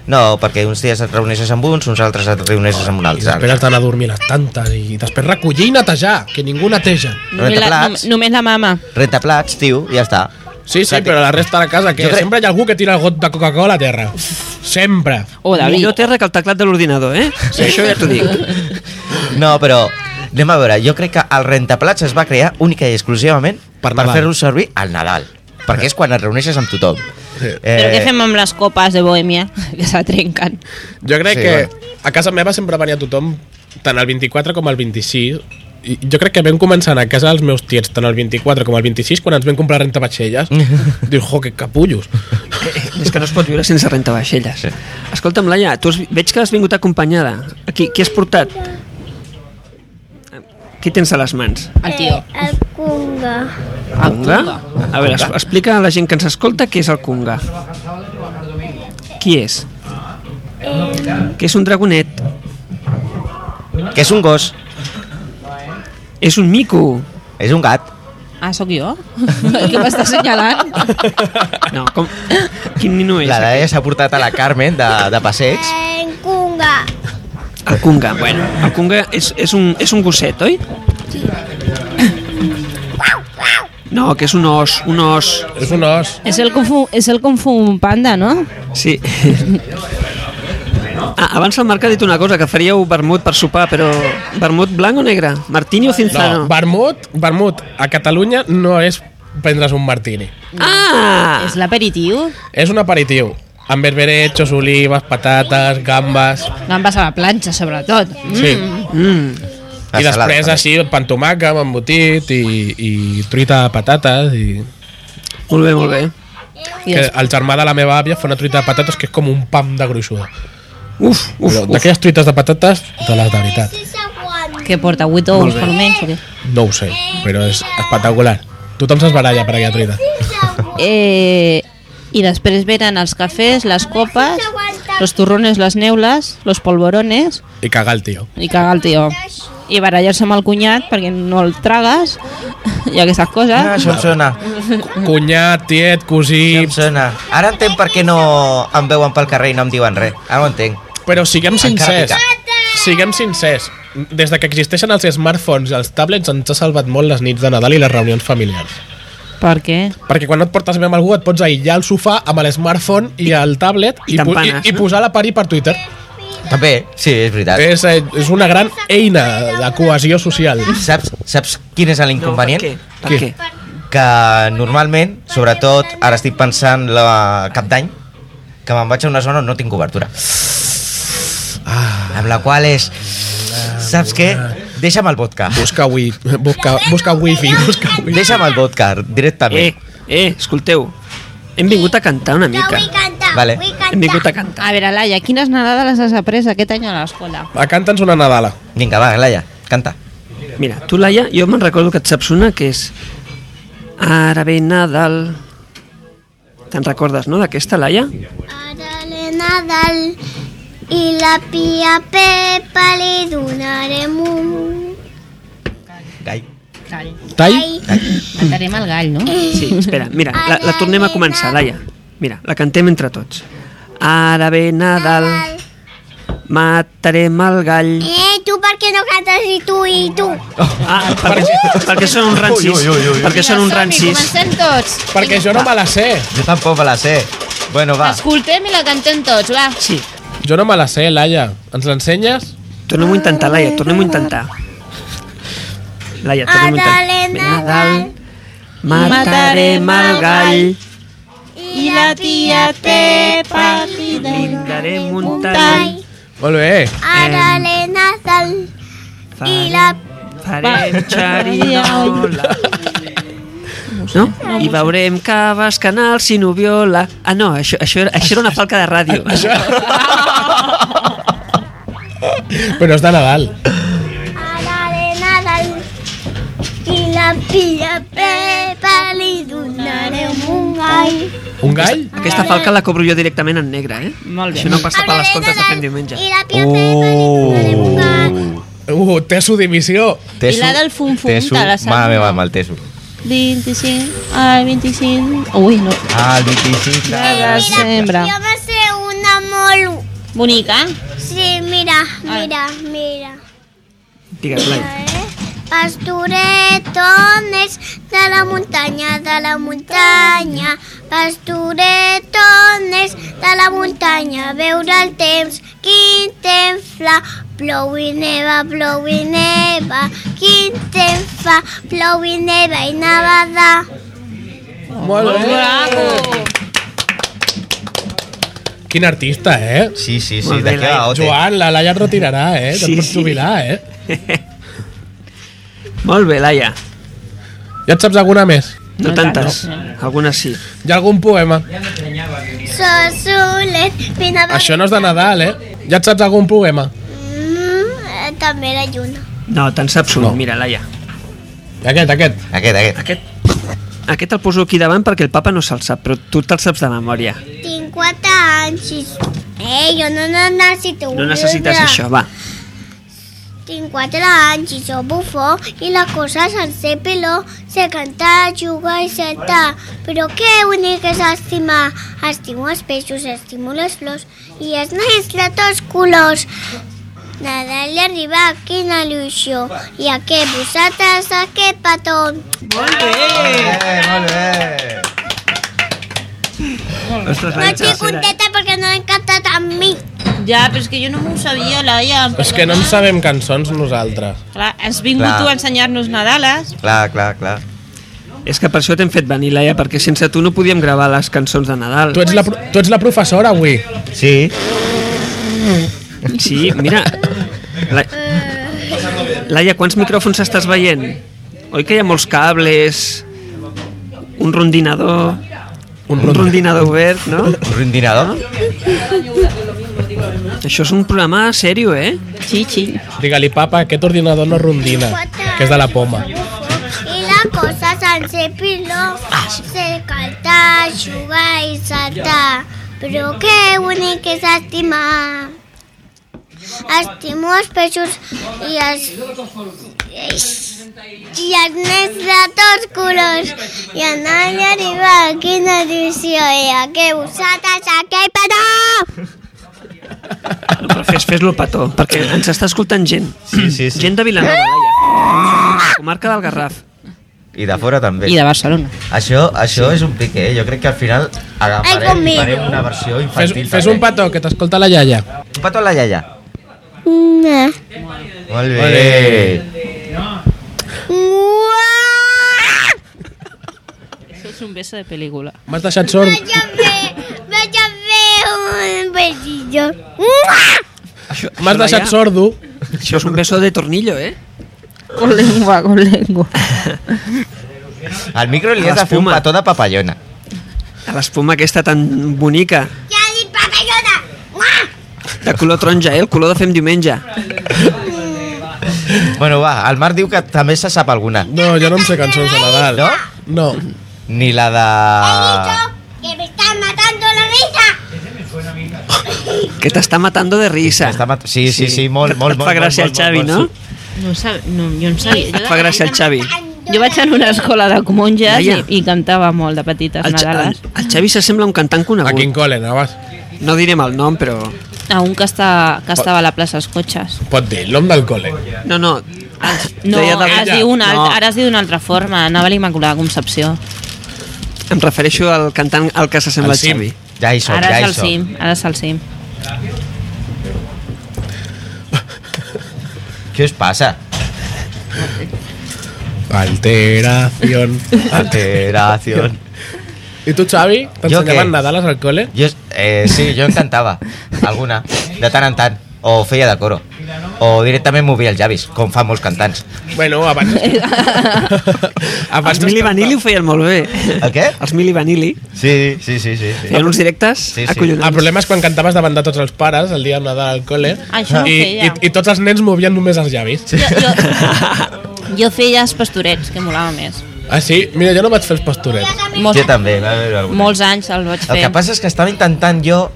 Speaker 3: No, perquè uns dies et reuneixes amb uns, uns altres et reuneixes amb un
Speaker 1: I
Speaker 3: altre.
Speaker 1: després has d'anar a dormir a les tantes i després recollir i netejar, que ningú neteja.
Speaker 4: només la,
Speaker 3: Rentaplats.
Speaker 4: nom- només la mama
Speaker 3: Rentaplats, tio, i ja està.
Speaker 1: Sí, sí, però la resta de la casa, que
Speaker 3: Jo crec-
Speaker 1: sempre hi ha algú que tira el got de Coca-Cola a terra. Sempre.
Speaker 4: o Oh, David
Speaker 2: Millor terra que el teclat de l'ordinador, eh? Sí. Això ja t'ho dic.
Speaker 3: No, però anem a veure, jo crec que el rentaplats es va crear única i exclusivament
Speaker 1: Per
Speaker 3: per,
Speaker 1: Nadal.
Speaker 3: fer-lo servir al Nadal, perquè és quan et reuneixes amb tothom. Eh,
Speaker 1: Sí.
Speaker 4: Però què fem amb les copes de bohèmia que se trenquen?
Speaker 1: Jo crec
Speaker 3: Sí,
Speaker 1: que
Speaker 3: bueno.
Speaker 1: a casa meva sempre venia tothom, tant el 24 com el 26, i jo crec que vam començar a anar a casa dels meus tiets, tant el 24 com el 26, quan ens vam comprar rentavatxelles. Dius, jo, que capullos.
Speaker 2: És que no es pot viure sense rentavaixelles. Sí. Escolta'm, Laia, tu has, veig que has vingut acompanyada. Qui, qui has portat? Qui tens a les mans?
Speaker 4: El tio.
Speaker 5: El Eh, cunga.
Speaker 2: El Kunga? A veure, es- explica a la gent que ens escolta què és el Kunga. Qui és? Que és un dragonet.
Speaker 3: Que és un gos,
Speaker 2: És un mico.
Speaker 3: és un gat.
Speaker 4: Ah, sóc jo? Què m'està assenyalant?
Speaker 2: No, com... Quin nino és?
Speaker 3: La Laia s'ha portat a la Carmen de, de passeig.
Speaker 5: En cunga.
Speaker 2: El Kunga. Bueno, el Kunga és, és, un, és un gosset, oi? No, que és un os, un os.
Speaker 1: És un os.
Speaker 4: és el, confu, és el Kung Fu Panda, no?
Speaker 2: Sí. Ah, abans el Marc ha dit una cosa, que faríeu vermut per sopar, però vermut blanc o negre? Martini o
Speaker 1: No,
Speaker 2: Cinzano?
Speaker 1: vermut, vermut a Catalunya no és prendre's un martini.
Speaker 2: Ah!
Speaker 4: És l'aperitiu?
Speaker 1: És un aperitiu amb berberechos, olives, patates, gambes...
Speaker 4: Gambes a la planxa, sobretot.
Speaker 1: Sí.
Speaker 2: Mm.
Speaker 1: I després així, pan tomàquet, amb embotit i, i truita de patates i...
Speaker 2: Molt bé, molt bé.
Speaker 4: I
Speaker 1: Que el germà de la meva àvia fa una truita de patates que és com un pam de gruixuda.
Speaker 2: Uf, uf,
Speaker 1: Però
Speaker 2: uf.
Speaker 1: D'aquelles truites de patates, de les de veritat.
Speaker 4: Que porta 8 ous, per almenys. o què?
Speaker 1: No ho sé, però és espectacular. Tothom s'esbaralla per aquella truita.
Speaker 4: Eh, I després venen els cafès, les copes, los turrones, les neules, los polvorones
Speaker 1: I cagar el tio.
Speaker 4: i cagar el tio. I barallar-se amb el cunyat perquè no el tragues i aquestes coses.
Speaker 3: Ah, això em sona,
Speaker 1: Cunyat, tiet,
Speaker 3: això
Speaker 1: cosí...
Speaker 3: em sona. Ara entenc per què no em veuen pel carrer i no em diuen res. Ara ho entenc.
Speaker 1: Però siguem
Speaker 3: Encara
Speaker 1: sincers. Siguem sincers. Des de que existeixen els smartphones i els tablets ens ha salvat molt les nits de Nadal i les reunions familiars.
Speaker 4: Per què?
Speaker 1: Perquè quan no et portes bé amb algú et pots aïllar al sofà amb l'smartphone i el tablet i,
Speaker 2: I
Speaker 1: po- i,
Speaker 2: t'empanes,
Speaker 1: i
Speaker 2: no?
Speaker 1: posar la pari per Twitter.
Speaker 3: També, sí, és veritat.
Speaker 1: És, eh, és una gran eina de cohesió social.
Speaker 3: Saps, saps quin és l'inconvenient?
Speaker 2: No, per què? Per
Speaker 1: Què?
Speaker 2: què?
Speaker 3: que normalment, sobretot, ara estic pensant la cap d'any, que me'n vaig a una zona on no tinc cobertura. Ah. Amb la qual és... Saps què? Deixa'm el vodka.
Speaker 1: Busca, wi busca, busca wifi, busca wifi.
Speaker 3: Deixa'm el vodka,
Speaker 2: Eh,
Speaker 3: directament.
Speaker 2: eh, escolteu. Hem vingut a cantar una
Speaker 5: Que
Speaker 2: mica.
Speaker 5: vull cantar,
Speaker 3: Vale.
Speaker 5: vull
Speaker 2: Hem vingut a
Speaker 5: cantar.
Speaker 2: cantar.
Speaker 4: A veure, Laia, quines nadades has après aquest any a l'escola?
Speaker 1: A canta'ns una Nadala.
Speaker 3: Vinga, va, Laia, canta.
Speaker 2: Mira, tu, Laia, jo me'n recordo que et saps una que és... Ara ve Nadal... Te'n recordes, no, d'aquesta, Laia?
Speaker 5: Ara l'he Nadal i la pia Pepa li donarem un
Speaker 3: Gai.
Speaker 4: Gall.
Speaker 1: Tall?
Speaker 5: ai.
Speaker 4: Matarem el gall, no?
Speaker 2: Sí, espera, mira, la, la tornem a començar, Laia. Mira, la cantem entre tots. Ara ve Nadal, matarem el gall...
Speaker 5: Eh, tu per què no cantes i tu i tu?
Speaker 2: Ah, perquè, perquè són uns rancis.
Speaker 3: Ui, ui, ui, ui.
Speaker 2: Perquè són uns
Speaker 4: Som-hi,
Speaker 2: rancis.
Speaker 4: Comencem tots.
Speaker 1: Perquè jo no me la sé.
Speaker 3: Jo tampoc me la sé. Bueno, va.
Speaker 4: Escoltem i la cantem tots, va.
Speaker 2: Sí,
Speaker 1: Jo no me la sé, Laia. Ens l'ensenyes?
Speaker 2: tornem-ho a intentar, Laia, tornem-ho a intentar. Laia, tornem-ho a intentar.
Speaker 5: Ara
Speaker 2: Ve
Speaker 5: l'he
Speaker 2: Nadal,
Speaker 5: Nadal
Speaker 2: matarem el gall,
Speaker 5: i la tia Pepa li
Speaker 2: brindarem un
Speaker 5: un
Speaker 2: tall,
Speaker 5: tall.
Speaker 1: Molt bé.
Speaker 5: Ara l'he Nadal i la...
Speaker 2: farem xarinola. No? I veurem que vas canal sinubiola. Ah, no, això, això, era- això era una falca de ràdio.
Speaker 1: Però és de Nadal.
Speaker 5: Ara l'he Nadal i la tia Pepa li donarem un gall.
Speaker 1: Un gall?
Speaker 2: Aquesta falca la cobro jo directament en negre, eh?
Speaker 4: Molt bé.
Speaker 2: Això no passa per
Speaker 5: Ara
Speaker 2: les
Speaker 5: l'he
Speaker 2: comptes de fent
Speaker 5: Nadal
Speaker 2: diumenge. Oh.
Speaker 5: i la tia Pepa li donarem un gall.
Speaker 1: Uh, té su dimissió.
Speaker 4: I la del fum fum
Speaker 3: teso,
Speaker 4: de la Sandra.
Speaker 3: Mare meva, amb el teso.
Speaker 4: 25, ai, 25... Ui, no.
Speaker 3: Ah, el 25 de...
Speaker 4: De desembre.
Speaker 5: Jo va ser una molt...
Speaker 4: Bonica.
Speaker 5: Sí, mira, mira, mira.
Speaker 2: Digues,
Speaker 5: Eh?
Speaker 2: Laia.
Speaker 5: Pastoretones de la muntanya, de la muntanya. Pastoretones de la muntanya, a veure el temps, quin temps fa. Plou i neva, plou i neva, quin temps fa. Plou i neva i nevada.
Speaker 1: Molt bé. Quin artista, eh?
Speaker 3: Sí, sí, sí,
Speaker 2: Molt bé,
Speaker 3: d'aquí a la
Speaker 2: Laia.
Speaker 3: OT.
Speaker 1: Joan, la Laia et retirarà, eh?
Speaker 2: Ah, Sí,
Speaker 1: Te'n pots
Speaker 2: sí.
Speaker 1: jubilar, eh?
Speaker 2: Molt bé, Laia.
Speaker 1: Ja et saps alguna més?
Speaker 2: No tantes. Algunes sí.
Speaker 1: Hi ha algun poema?
Speaker 5: Sosulet, vine a
Speaker 1: Això no és de Nadal, eh? Ja et saps algun poema?
Speaker 5: Mm, eh, també la lluna.
Speaker 2: No, te'n saps un.
Speaker 1: No.
Speaker 2: Mira, Laia.
Speaker 1: Aquest, aquest.
Speaker 3: Aquest, aquest.
Speaker 2: Aquest, aquest el poso aquí davant perquè el papa no se'l sap, però tu te'l saps de memòria.
Speaker 5: Tinc 4 anys i... Eh, jo no necessito un
Speaker 2: No necessites
Speaker 5: llibre.
Speaker 2: això, va.
Speaker 5: Tinc 4 anys i sóc bufó i la cosa sense piló sé cantar, jugar i saltar. Però que únic és estimar. Estimo els peixos, estimo les flors i els nens de tots colors. Nadal i arribar, quina il·lusió. I a què vosaltres, a què petó.
Speaker 3: Eh, molt bé.
Speaker 2: Ostres,
Speaker 5: No
Speaker 2: Laia, te la sé,
Speaker 5: estic
Speaker 2: Laia.
Speaker 5: contenta perquè no l'han cantat amb mi.
Speaker 4: Ja, però és que jo no m'ho sabia, Laia.
Speaker 1: És que no en sabem cançons nosaltres.
Speaker 4: Clar, has vingut
Speaker 3: Clar.
Speaker 4: tu a ensenyar-nos Nadales.
Speaker 3: Clar, clar, clar.
Speaker 2: És que per això t'hem fet venir, Laia, perquè sense tu no podíem gravar les cançons de Nadal.
Speaker 1: Tu ets la, pro- tu ets la professora avui.
Speaker 3: Sí.
Speaker 2: Sí, mira. La... Laia, quants micròfons estàs veient? Oi que hi ha molts cables, un rondinador, un, un rondinador obert, no?
Speaker 3: Un rondinador?
Speaker 2: Això és un programa serio, eh?
Speaker 4: Sí, sí.
Speaker 1: Digue-li, papa, aquest ordinador no rondina, que és de la poma.
Speaker 5: I la cosa sense piló se cantar, jugar i saltar. Però que únic és estimar. Estimo els peixos i els... I els nens de tots colors. I anar i arribar, quina edició. I a què vosaltres, a què petó!
Speaker 2: No, però fes, fes-lo petó, perquè ens està escoltant gent.
Speaker 3: Sí, sí, sí.
Speaker 2: Gent de Vilanova,
Speaker 4: Eh!
Speaker 2: Laia. Comarca del Garraf.
Speaker 3: I de fora també.
Speaker 4: I de Barcelona.
Speaker 3: Això, això és un pique, eh? Jo crec que al final
Speaker 5: Ai,
Speaker 3: agafarem
Speaker 5: com
Speaker 3: i farem
Speaker 5: miro.
Speaker 3: una versió
Speaker 1: Fes,
Speaker 3: infantil.
Speaker 1: fes
Speaker 3: també.
Speaker 1: un petó, que t'escolta la iaia.
Speaker 3: Un petó a la iaia.
Speaker 5: No.
Speaker 3: Molt bé.
Speaker 5: Uah!
Speaker 4: Això és un beso de pel·lícula.
Speaker 1: M'has deixat sord.
Speaker 5: Vaya a ver, vaya a ver un besillo. ¡Mua!
Speaker 2: Això,
Speaker 1: M'has
Speaker 2: això,
Speaker 1: deixat
Speaker 2: Laia,
Speaker 1: sordo.
Speaker 2: Això és un beso de tornillo, eh?
Speaker 4: Con lengua, con lengua.
Speaker 3: Al micro li has de fer un
Speaker 2: L'espuma.
Speaker 3: petó de papallona.
Speaker 2: A l'espuma aquesta tan bonica,
Speaker 5: Ja he dit papallona!
Speaker 2: de color taronja, eh? El color de fem diumenge.
Speaker 3: Bueno, va, el Marc diu que també se sap alguna.
Speaker 1: No, jo no em sé cançons de Nadal.
Speaker 3: No?
Speaker 1: No.
Speaker 3: Ni la de...
Speaker 5: ¡Que me están matando la risa!
Speaker 2: Que t'està matando de risa.
Speaker 3: Està mat- Sí, sí, sí, molt,
Speaker 2: Et-
Speaker 3: molt,
Speaker 2: et
Speaker 3: molt.
Speaker 2: fa gràcia el Xavi, no?
Speaker 4: No, sab... no jo en sabia.
Speaker 2: Et fa
Speaker 4: Jo,
Speaker 2: gràcia el Xavi.
Speaker 4: jo vaig en una escola de monges i,
Speaker 2: Laia.
Speaker 4: i cantava molt de petites
Speaker 2: El, Xa- el,
Speaker 4: nadales.
Speaker 2: el Xavi s'assembla a un cantant
Speaker 1: A quin
Speaker 2: conegut.
Speaker 1: col·le anaves?
Speaker 2: No direm el nom, però...
Speaker 4: A un que, està, que estava a la plaça dels cotxes.
Speaker 1: Pot dir, el nom Pues del col·le.
Speaker 2: No, no.
Speaker 4: No,
Speaker 2: deia
Speaker 4: ara es,
Speaker 1: Ella.
Speaker 4: diu una,
Speaker 2: No.
Speaker 4: alt- ara es diu d'una altra forma. Anava a l'Immaculada Concepció.
Speaker 2: Em refereixo al cantant al que s'assembla
Speaker 1: El
Speaker 2: al
Speaker 1: Sim.
Speaker 2: Xavi.
Speaker 3: Ja hi som,
Speaker 4: Ara
Speaker 3: ja
Speaker 4: és
Speaker 3: hi
Speaker 4: al
Speaker 3: som.
Speaker 4: cim, ara és al cim.
Speaker 3: Què us passa?
Speaker 1: Alteración.
Speaker 3: Alteració.
Speaker 1: I tu, Xavi,
Speaker 3: què?
Speaker 1: t'ensenyaven Nadales al col·le?
Speaker 3: Jo, eh, sí, jo en cantava, alguna, de tant en tant. O feia de coro. O directament movia els llavis, com fan molts cantants.
Speaker 1: Bueno, abans...
Speaker 2: Els
Speaker 1: abans
Speaker 2: Mili Vanilli ho feien molt bé.
Speaker 3: El què?
Speaker 2: Els Mili Vanilli
Speaker 3: Sí, sí, sí, sí. sí.
Speaker 2: feien uns directes
Speaker 3: Sí, sí.
Speaker 1: El
Speaker 2: acollonants.
Speaker 1: problema és quan cantaves davant de tots els pares el dia de Nadal al col·le
Speaker 4: Això ho
Speaker 1: i, i,
Speaker 4: feia.
Speaker 1: i tots els nens movien només els llavis.
Speaker 4: Jo, jo, jo feia els pastorets, que molava més.
Speaker 1: Ah, sí? Mira, jo no vaig fer els pastorets.
Speaker 4: Molts,
Speaker 3: Jo també, va haver alguna.
Speaker 4: molts anys el vaig
Speaker 3: El
Speaker 4: fer.
Speaker 3: que passa és que estava intentant jo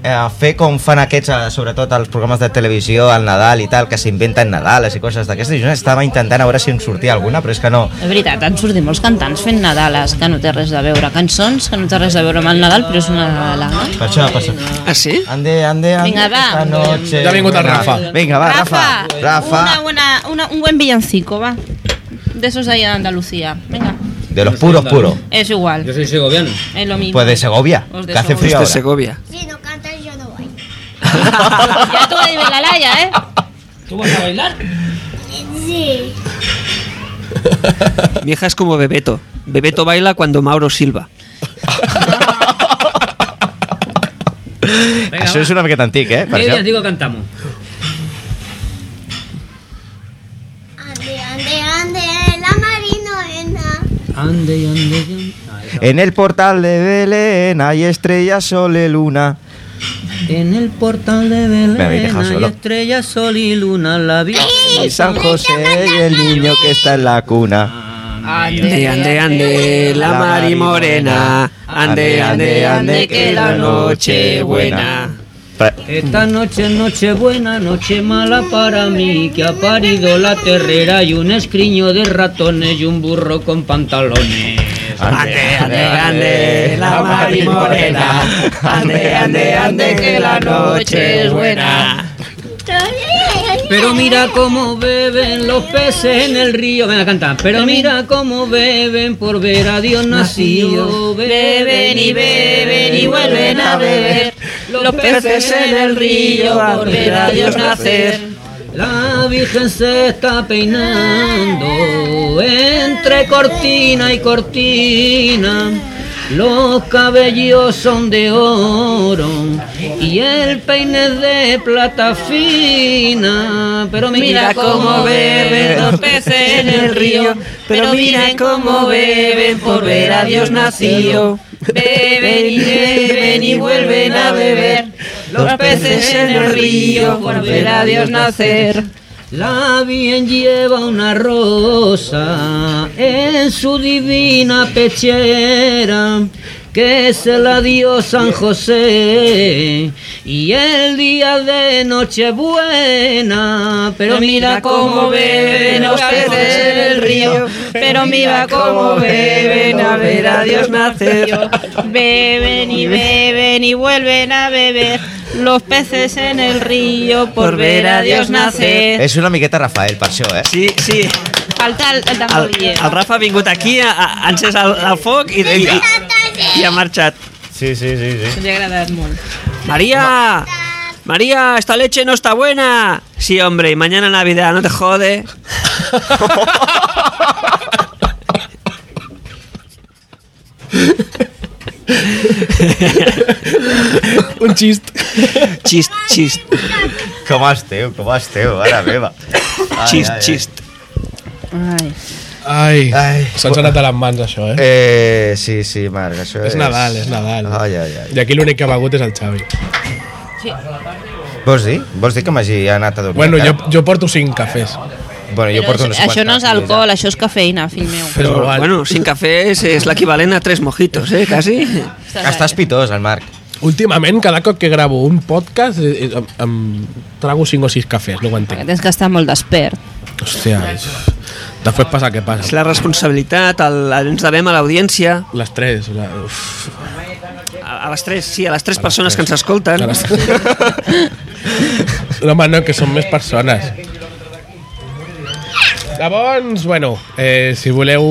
Speaker 3: eh, fer com fan aquests, eh, sobretot els programes de televisió al Nadal i tal, que s'inventen Nadales i coses d'aquestes. Jo estava intentant a veure si em sortia alguna, però és que no.
Speaker 4: De veritat, han sortit molts cantants fent Nadales, que no té res a veure. Cançons, que no té res a veure amb el Nadal, però és una Nadala. no?
Speaker 3: Per això passa.
Speaker 2: Ah, sí?
Speaker 3: Ande, ande, ande.
Speaker 4: Vinga, va.
Speaker 3: esta Noche.
Speaker 1: Ja ha vingut el Rafa.
Speaker 3: Vinga, va, Rafa. Rafa.
Speaker 4: Una, una, una, un buen villancico, va. De esos de allá de Andalucía. Venga,
Speaker 3: De los puros, puro.
Speaker 4: es igual.
Speaker 8: Yo soy segoviano.
Speaker 4: Es lo mismo.
Speaker 3: Pues de Segovia,
Speaker 4: Os de
Speaker 3: que hace frío
Speaker 2: De
Speaker 3: ahora.
Speaker 2: Segovia.
Speaker 5: Si no cantas, yo no voy.
Speaker 4: Ya tú dime la laya, ¿eh?
Speaker 8: ¿Tú vas a bailar?
Speaker 5: Sí.
Speaker 2: Mi hija es como Bebeto. Bebeto baila cuando Mauro silba.
Speaker 8: Venga,
Speaker 3: Això
Speaker 8: va.
Speaker 3: és una miqueta antic, eh? Per
Speaker 8: Medio
Speaker 3: això.
Speaker 8: digo cantamos.
Speaker 5: Ande, ande, ande, la marinoena.
Speaker 8: Ande, y ande, y ande.
Speaker 3: En el portal de Belén hay estrella, sol y luna.
Speaker 8: En el portal de Belén
Speaker 3: Me habéis dejado
Speaker 8: hay
Speaker 3: solo.
Speaker 8: estrella, sol y luna, la vida.
Speaker 3: Y San José y el niño que está en la cuna.
Speaker 8: Ah.
Speaker 2: Ande, ande, ande, la mari morena. Ande, ande, ande, que la noche buena.
Speaker 3: Pre-
Speaker 8: Esta noche es noche buena, noche mala para mí, que ha parido la terrera y un escriño de ratones y un burro con pantalones.
Speaker 3: Ah.
Speaker 2: Ande, ande, ande, la mari morena. Ande, ande, ande, que la noche es buena.
Speaker 8: Pero mira cómo beben los peces en el río. Ven a cantar. Pero mira cómo beben por ver a Dios nacido. Beben y beben y vuelven a beber. Los peces en el río por ver a Dios nacer. La Virgen se está peinando entre cortina y cortina. Los cabellos son de oro y el peine es de plata fina. Pero mira, cómo beben los peces en el río. Pero mira cómo beben por ver a Dios nacido. Beben y beben y vuelven a beber. Los peces en el río por ver a Dios nacer. La bien lleva una rosa en su divina pechera que se la dio San José y el día de Nochebuena. Pero mira cómo beben los peces en el río, pero mira cómo beben a ver a Dios nacer.
Speaker 4: Beben y beben y vuelven a beber los peces en el río por ver a Dios nacer.
Speaker 3: És una miqueta Rafael, per això, eh?
Speaker 2: Sí, sí.
Speaker 4: Falta el, el
Speaker 2: El,
Speaker 4: tamboriller.
Speaker 2: el Rafa ha vingut aquí, ha, ha encès el, el foc i, i, i, i ha marxat.
Speaker 3: Sí, sí, sí. sí.
Speaker 4: Ens ha agradat molt.
Speaker 2: María, María, esta leche no está buena. Sí, hombre, y mañana Navidad, no te jode.
Speaker 1: Un xist.
Speaker 2: Chist, chist,
Speaker 3: Com esteu, com esteu, ara meva. Ai,
Speaker 2: chist,
Speaker 3: ai, ai.
Speaker 2: chist.
Speaker 4: Ai.
Speaker 1: Ai,
Speaker 3: Ai.
Speaker 1: se'ns ha anat de les mans, això, eh?
Speaker 3: Eh, sí, sí, Marc, això Eh, és...
Speaker 1: És Nadal, és Nadal.
Speaker 3: Ai, ai, ai.
Speaker 1: I aquí l'únic que ha begut és el Xavi.
Speaker 3: Vols dir? Vols dir que m'hagi anat a dormir?
Speaker 1: Bueno, jo,
Speaker 3: encara?
Speaker 1: jo porto cinc cafès.
Speaker 3: Bueno, jo
Speaker 4: Però
Speaker 3: porto
Speaker 4: això-
Speaker 3: uns
Speaker 4: això
Speaker 3: quants
Speaker 4: no és
Speaker 3: cafès,
Speaker 4: alcohol, això és cafeïna, fill meu.
Speaker 1: Però,
Speaker 2: Però,
Speaker 1: bueno,
Speaker 2: bueno, sin cafè és, és l'equivalent a tres mojitos, eh, quasi.
Speaker 3: eh? Estàs pitós, el Marc.
Speaker 1: últimament, cada cop que gravo un podcast, eh, eh, em, em trago cinc o sis cafès, no ho
Speaker 4: Perquè
Speaker 1: entenc.
Speaker 4: tens que estar molt despert.
Speaker 1: Hòstia, és... després passa el que
Speaker 2: És
Speaker 1: passa.
Speaker 2: la responsabilitat, el, ens devem a l'audiència,
Speaker 1: Les tres, o sigui, uf,
Speaker 2: a, a les tres, sí, a les tres persones que ens escolten.
Speaker 1: A les No, home, no, que són més persones. Llavors, bueno, eh, si voleu,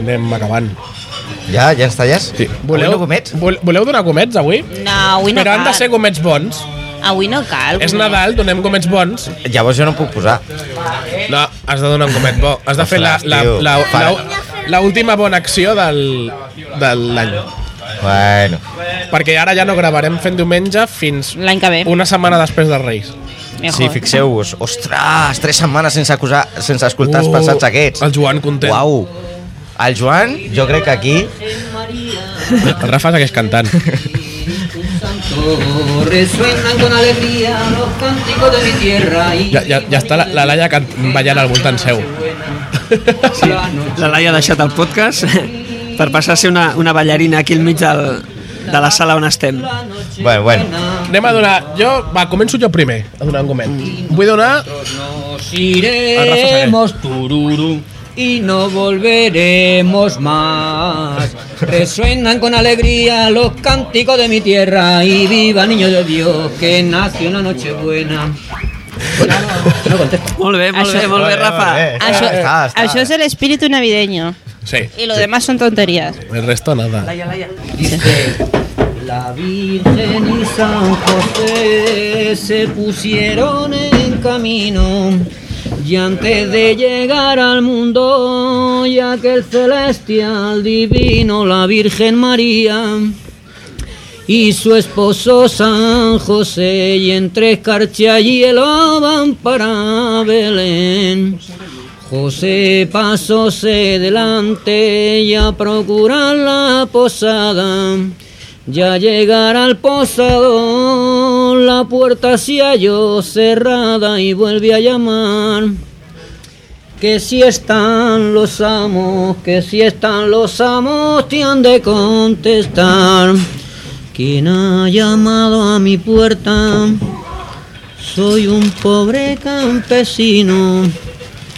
Speaker 1: anem acabant.
Speaker 3: Ja, ja ens talles?
Speaker 1: Sí.
Speaker 3: Voleu? Avui no comets?
Speaker 1: Vol, voleu donar gomets, avui?
Speaker 4: No, avui no
Speaker 1: Però han
Speaker 4: cal.
Speaker 1: de ser gomets bons.
Speaker 4: Avui no cal.
Speaker 1: És Nadal, donem gomets bons.
Speaker 3: Llavors jo no em puc posar.
Speaker 1: No, has de donar un gomet bo. Has de fer la, la, la, la, la última bona acció del, de l'any.
Speaker 3: Bueno,
Speaker 1: Perquè ara ja no gravarem fent diumenge fins
Speaker 4: L'any que ve.
Speaker 1: una setmana després dels Reis.
Speaker 4: Mejor.
Speaker 3: sí, fixeu-vos. Ostres, tres setmanes sense, acusar, sense escoltar
Speaker 2: Oh,
Speaker 3: els
Speaker 1: Uh,
Speaker 3: passats aquests.
Speaker 1: El Joan content.
Speaker 3: Uau. El Joan, jo crec que aquí...
Speaker 1: El Rafa segueix cantant.
Speaker 8: Resuenan con alegría los cánticos de mi tierra. Y
Speaker 1: Ja, ja, ja està la, la Laia can, ballant al voltant seu.
Speaker 8: Sí.
Speaker 2: La Laia ha deixat el podcast per passar a ser una, una ballarina aquí al mig del, de la sala on estem.
Speaker 3: Bueno, bueno.
Speaker 1: Anem a donar... Jo, va, començo jo primer a donar un gomet. Vull donar...
Speaker 8: Nos iremos, tururú, y no volveremos más. Resuenan con alegría los cánticos de mi tierra y viva niño de Dios que nació una noche buena. No, no contesto.
Speaker 2: Molt bé, molt
Speaker 4: Això-
Speaker 2: bé, molt bé, Rafa.
Speaker 4: Això, això és el espíritu navideño.
Speaker 1: Sí.
Speaker 4: Y lo demás son tonterías.
Speaker 1: El resto nada.
Speaker 8: Dice, la Virgen y San José se pusieron en camino y antes de llegar al mundo, ya que el celestial divino, la Virgen María y su esposo San José, y entre escarcha y hielo van para Belén. José pasóse delante y a procurar la posada. Ya llegar al posadón, la puerta se halló cerrada y vuelve a llamar. Que si están los amos, que si están los amos, te han de contestar. Quien ha llamado a mi puerta, soy un pobre campesino.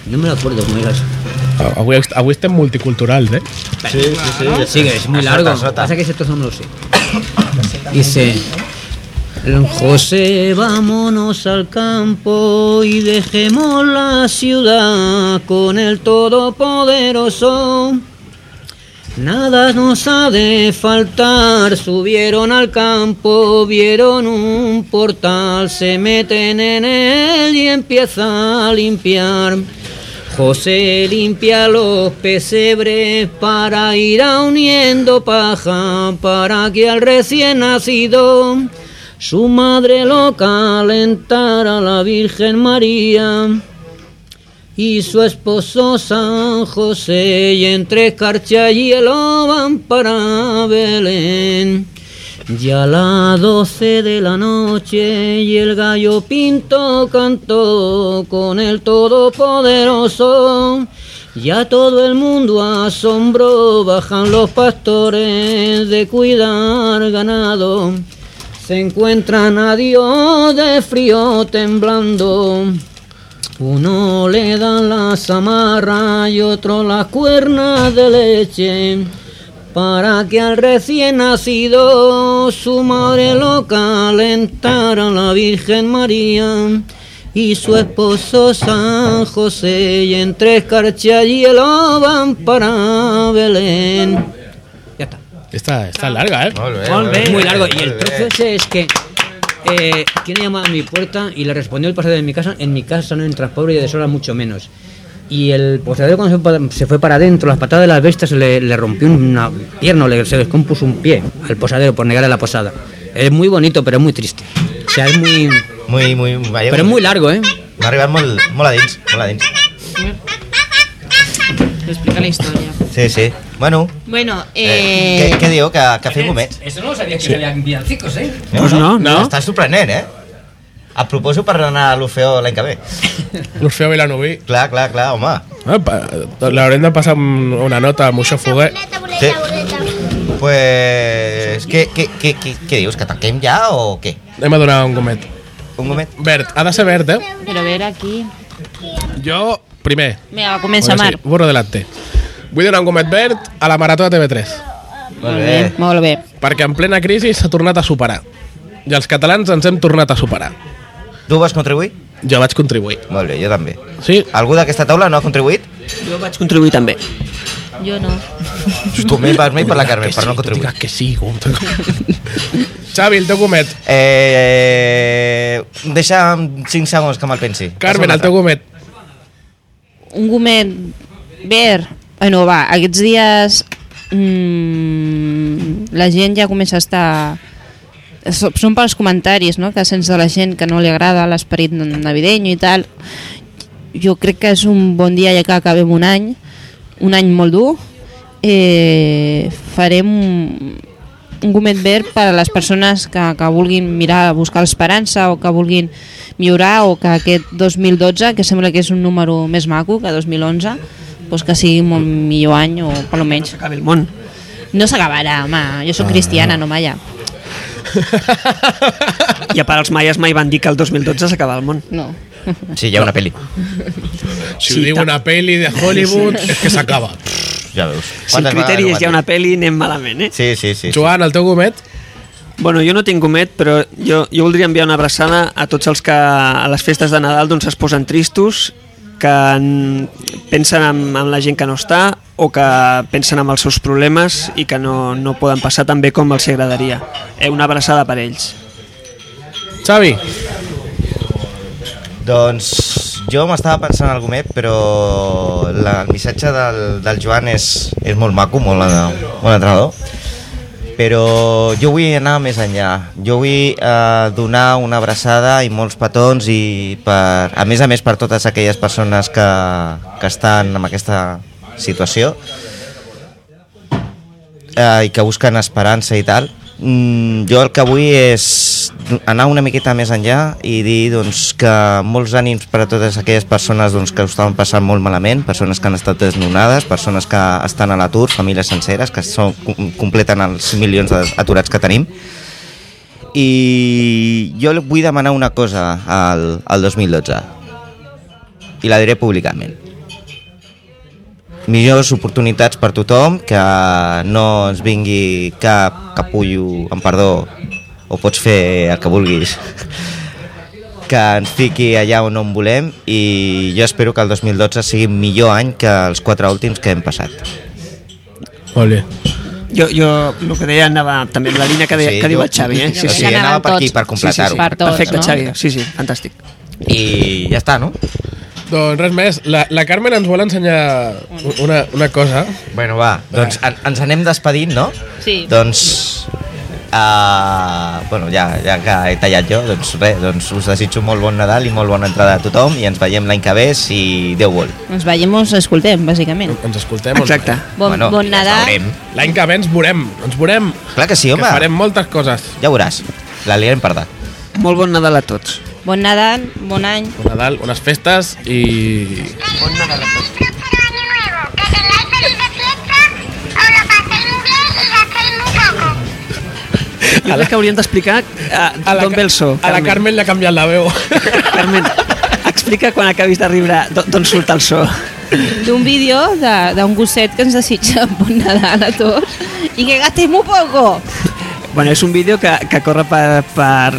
Speaker 8: No me lo acuerdo cómo era eso.
Speaker 1: Avui, avui estem multiculturals, eh?
Speaker 3: Sí, sí, sí.
Speaker 8: Sigue, es muy
Speaker 3: Ah, Azota,
Speaker 8: largo.
Speaker 3: azota.
Speaker 8: Pasa que ese trozo no lo sé. Dice. José, vámonos al campo y dejemos la ciudad con el Todopoderoso. Nada nos ha de faltar. Subieron al campo, vieron un portal, se meten en él y empieza a limpiar. José limpia los pesebres para ir a uniendo paja para que al recién nacido su madre lo calentara la Virgen María y su esposo San José, y entre escarcha y hielo van para Belén. Ya las doce de la noche y el gallo pinto cantó con el Todopoderoso. Ya todo el mundo asombró, bajan los pastores de cuidar ganado. Se encuentran a Dios de frío temblando. Uno le da la zamarra y otro las cuernas de leche para que al recién nacido su madre lo calentara la Virgen María y su esposo San José y entre escarcha y hielo van para Belén. Ya está.
Speaker 1: Està, està larga, eh?
Speaker 3: Molt bé,
Speaker 2: Molt bé.
Speaker 8: Muy largo. Y
Speaker 3: molt
Speaker 8: el
Speaker 3: bé.
Speaker 8: trozo ese es que... Eh, ¿Quién llama a mi puerta? Y le respondió el posadero de mi casa. En mi casa no entras pobre y de deshora mucho menos. Y el posadero cuando se fue para- se fue para adentro, las patadas de las bestias le, le rompió una pierna, o le, se descompuso un pie al posadero por negarle la posada. Es muy bonito, pero es muy triste. O sea, es muy...
Speaker 3: Muy, muy... Vaya,
Speaker 8: Pero es muy largo, ¿eh?
Speaker 3: M'ha arribat molt, molt a dins, molt a dins.
Speaker 9: t'explica la història.
Speaker 3: Sí, sí. Bueno,
Speaker 9: Bueno,
Speaker 3: eh,
Speaker 9: eh...
Speaker 3: què, què diu? Que, que fem un moment.
Speaker 8: Eso no lo sabía que se habían villancicos, ¿eh?
Speaker 2: Pues no, no.
Speaker 3: Està sorprenent, eh? Et proposo per anar a l'Orfeo l'any que ve.
Speaker 1: L'Orfeo Vilanoví.
Speaker 3: Clar, clar, clar, home.
Speaker 1: Ah, pa, l'haurem de passar un- una nota amb això foguer.
Speaker 5: Boleta, boleta, boleta.
Speaker 3: Pues... Què, què, què, què, què dius? Que tanquem ja o què?
Speaker 1: Anem a donar un gomet.
Speaker 3: Un moment.
Speaker 1: Verd, ha de ser verd, eh?
Speaker 4: Però a veure aquí...
Speaker 1: Jo, primer.
Speaker 4: Mira, va, comença Mar.
Speaker 1: Sí, burro delante. Vull donar un gomet verd a la Marató de TV3.
Speaker 3: Molt bé.
Speaker 4: Molt bé.
Speaker 1: Perquè en plena crisi s'ha tornat a superar. I els catalans ens hem tornat a superar.
Speaker 3: Tu vas contribuir?
Speaker 1: Jo vaig contribuir.
Speaker 3: Molt bé, jo també.
Speaker 1: Sí?
Speaker 3: Algú d'aquesta taula no ha contribuït?
Speaker 2: Jo vaig contribuir també.
Speaker 4: Jo no.
Speaker 3: Tu més per mi per la Carmen, per no contribuir.
Speaker 1: Digues que sí. com- Xavi, el teu gomet.
Speaker 3: Eh, deixa'm 5 segons que me'l pensi.
Speaker 1: Carmen, el teu gomet.
Speaker 4: Un gomet verd. Bueno, va, aquests dies mm, la gent ja comença a estar... So- Són pels comentaris, no?, que sents de la gent que no li agrada l'esperit navideño i tal. Jo crec que és un bon dia ja que acabem un any, un any molt dur. Eh, farem un, un gomet verd per a les persones que, que vulguin mirar a buscar l'esperança o que vulguin millorar o que aquest 2012, que sembla que és un número més maco que 2011, doncs que sigui un molt millor any o per almenys.
Speaker 2: Acaba el món.
Speaker 4: No s'acabarà, home, jo sóc cristiana, no malla.
Speaker 2: I a part els maies mai van dir que el 2012 s'acaba el món.
Speaker 4: No.
Speaker 3: Sí, hi ha una pel·li.
Speaker 1: Si
Speaker 2: Sí,
Speaker 1: ho diu
Speaker 2: ta-
Speaker 1: una peli de Hollywood, és que s'acaba.
Speaker 3: Ja veus.
Speaker 2: Si el criteri és hi ha una pel·li, anem malament, eh?
Speaker 3: Sí, sí, sí.
Speaker 1: Joan, el teu gomet.
Speaker 2: Bueno, jo no tinc gomet, però jo, jo voldria enviar una abraçada a tots els que a les festes de Nadal doncs, es posen tristos, que en, pensen en, en la gent que no està o que pensen en els seus problemes i que no, no poden passar tan bé com els agradaria. Eh, una abraçada per ells.
Speaker 1: Xavi,
Speaker 3: Doncs jo m'estava pensant en el gomet, però la, el missatge del, del Joan és, és molt maco, molt, molt entrenador. Però jo vull anar més enllà. Jo vull eh, donar una abraçada i molts petons i per, a més a més per totes aquelles persones que, que estan en aquesta situació eh, i que busquen esperança i tal, mm, jo el que vull és anar una miqueta més enllà i dir doncs, que molts ànims per a totes aquelles persones doncs, que ho estaven passant molt malament, persones que han estat desnonades, persones que estan a l'atur, famílies senceres, que són, com- completen els milions d'aturats que tenim. I jo li vull demanar una cosa al, al 2012 i la diré públicament millors oportunitats per tothom, que no ens vingui cap capullo, en perdó, o pots fer el que vulguis, que ens fiqui allà on no en volem i jo espero que el 2012 sigui millor any que els quatre últims que hem passat.
Speaker 1: Molt bé.
Speaker 2: Jo, jo el que deia anava també en la línia que, deia, que diu el Xavi, eh?
Speaker 3: Sí,
Speaker 2: Sí,
Speaker 3: o
Speaker 2: sí.
Speaker 3: sigui,
Speaker 4: Que
Speaker 3: anava
Speaker 4: anaven
Speaker 3: per aquí,
Speaker 4: tots.
Speaker 3: per completar-ho.
Speaker 4: Sí, sí, sí. Per tots,
Speaker 2: Perfecte,
Speaker 4: no?
Speaker 2: Xavi. Sí, sí, fantàstic.
Speaker 3: I ja està, no?
Speaker 1: Doncs res més, la, la Carmen ens vol ensenyar una, una cosa.
Speaker 3: Bueno, va, doncs en, ens anem despedint, no?
Speaker 4: Sí.
Speaker 3: Doncs... Uh, bueno, ja, ja que he tallat jo, doncs res, doncs us desitjo molt bon Nadal i molt bona entrada a tothom i ens veiem l'any que ve si Déu vol.
Speaker 4: Ens veiem, ens escoltem, bàsicament.
Speaker 1: Ens escoltem. ens
Speaker 2: Exacte.
Speaker 4: Bon,
Speaker 3: bueno,
Speaker 4: bon
Speaker 3: ja
Speaker 4: Nadal.
Speaker 3: veurem.
Speaker 1: veurem. L'any que ve ens veurem, ens veurem.
Speaker 3: Clar que sí,
Speaker 1: Que
Speaker 3: home,
Speaker 1: farem moltes coses.
Speaker 3: ja veuràs. La liarem per dalt.
Speaker 2: Molt bon Nadal a tots.
Speaker 4: Bon Nadal, bon any.
Speaker 1: Un Nadal, unes festes i...
Speaker 5: Que tengáis feliz de fiesta, os lo paséis muy bien y gastéis muy poco.
Speaker 2: Jo crec que hauríem d'explicar eh, d'on ve el so.
Speaker 1: a la Carmen li ha canviat la veu.
Speaker 2: Carmen, explica quan acabis de riure d'o- d'on surt el so.
Speaker 4: D'un vídeo de- d'un gosset que ens desitja bon Nadal a tots i que gastem molt poco.
Speaker 2: Bueno, és un vídeo que, que corre per, per,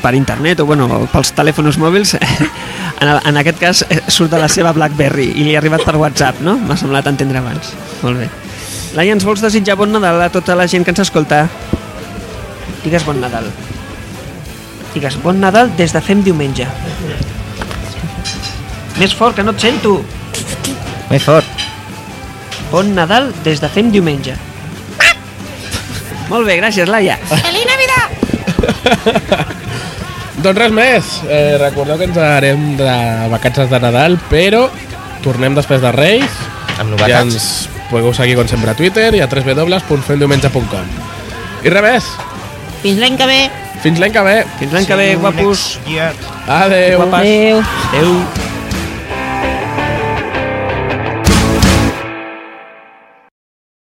Speaker 2: per internet o bueno, pels telèfons mòbils. En, el- en aquest cas eh, surt de la seva Blackberry i li ha arribat per WhatsApp, no? M'ha semblat entendre abans. Molt bé. Laia, ens vols desitjar bon Nadal a tota la gent que ens escolta? Digues bon Nadal. Digues bon Nadal des de fem diumenge. Més fort, que no et sento!
Speaker 3: Més fort.
Speaker 2: Bon Nadal des de fem diumenge. Molt bé, gràcies, Laia.
Speaker 5: ¡Feliz Navidad!
Speaker 1: doncs res més. Eh, recordeu que ens anarem de vacances de Nadal, però tornem després de Reis
Speaker 3: amb
Speaker 1: Ja
Speaker 3: novetats.
Speaker 1: ens podeu seguir, com sempre, a Twitter i a www.femdiumenge.com. I res més.
Speaker 4: Fins l'any que ve.
Speaker 1: Fins l'any que ve.
Speaker 2: Fins l'any que ve, guapos.
Speaker 3: Yeah.
Speaker 1: Adeu.
Speaker 2: Guapes.
Speaker 4: Adéu.
Speaker 2: Adéu.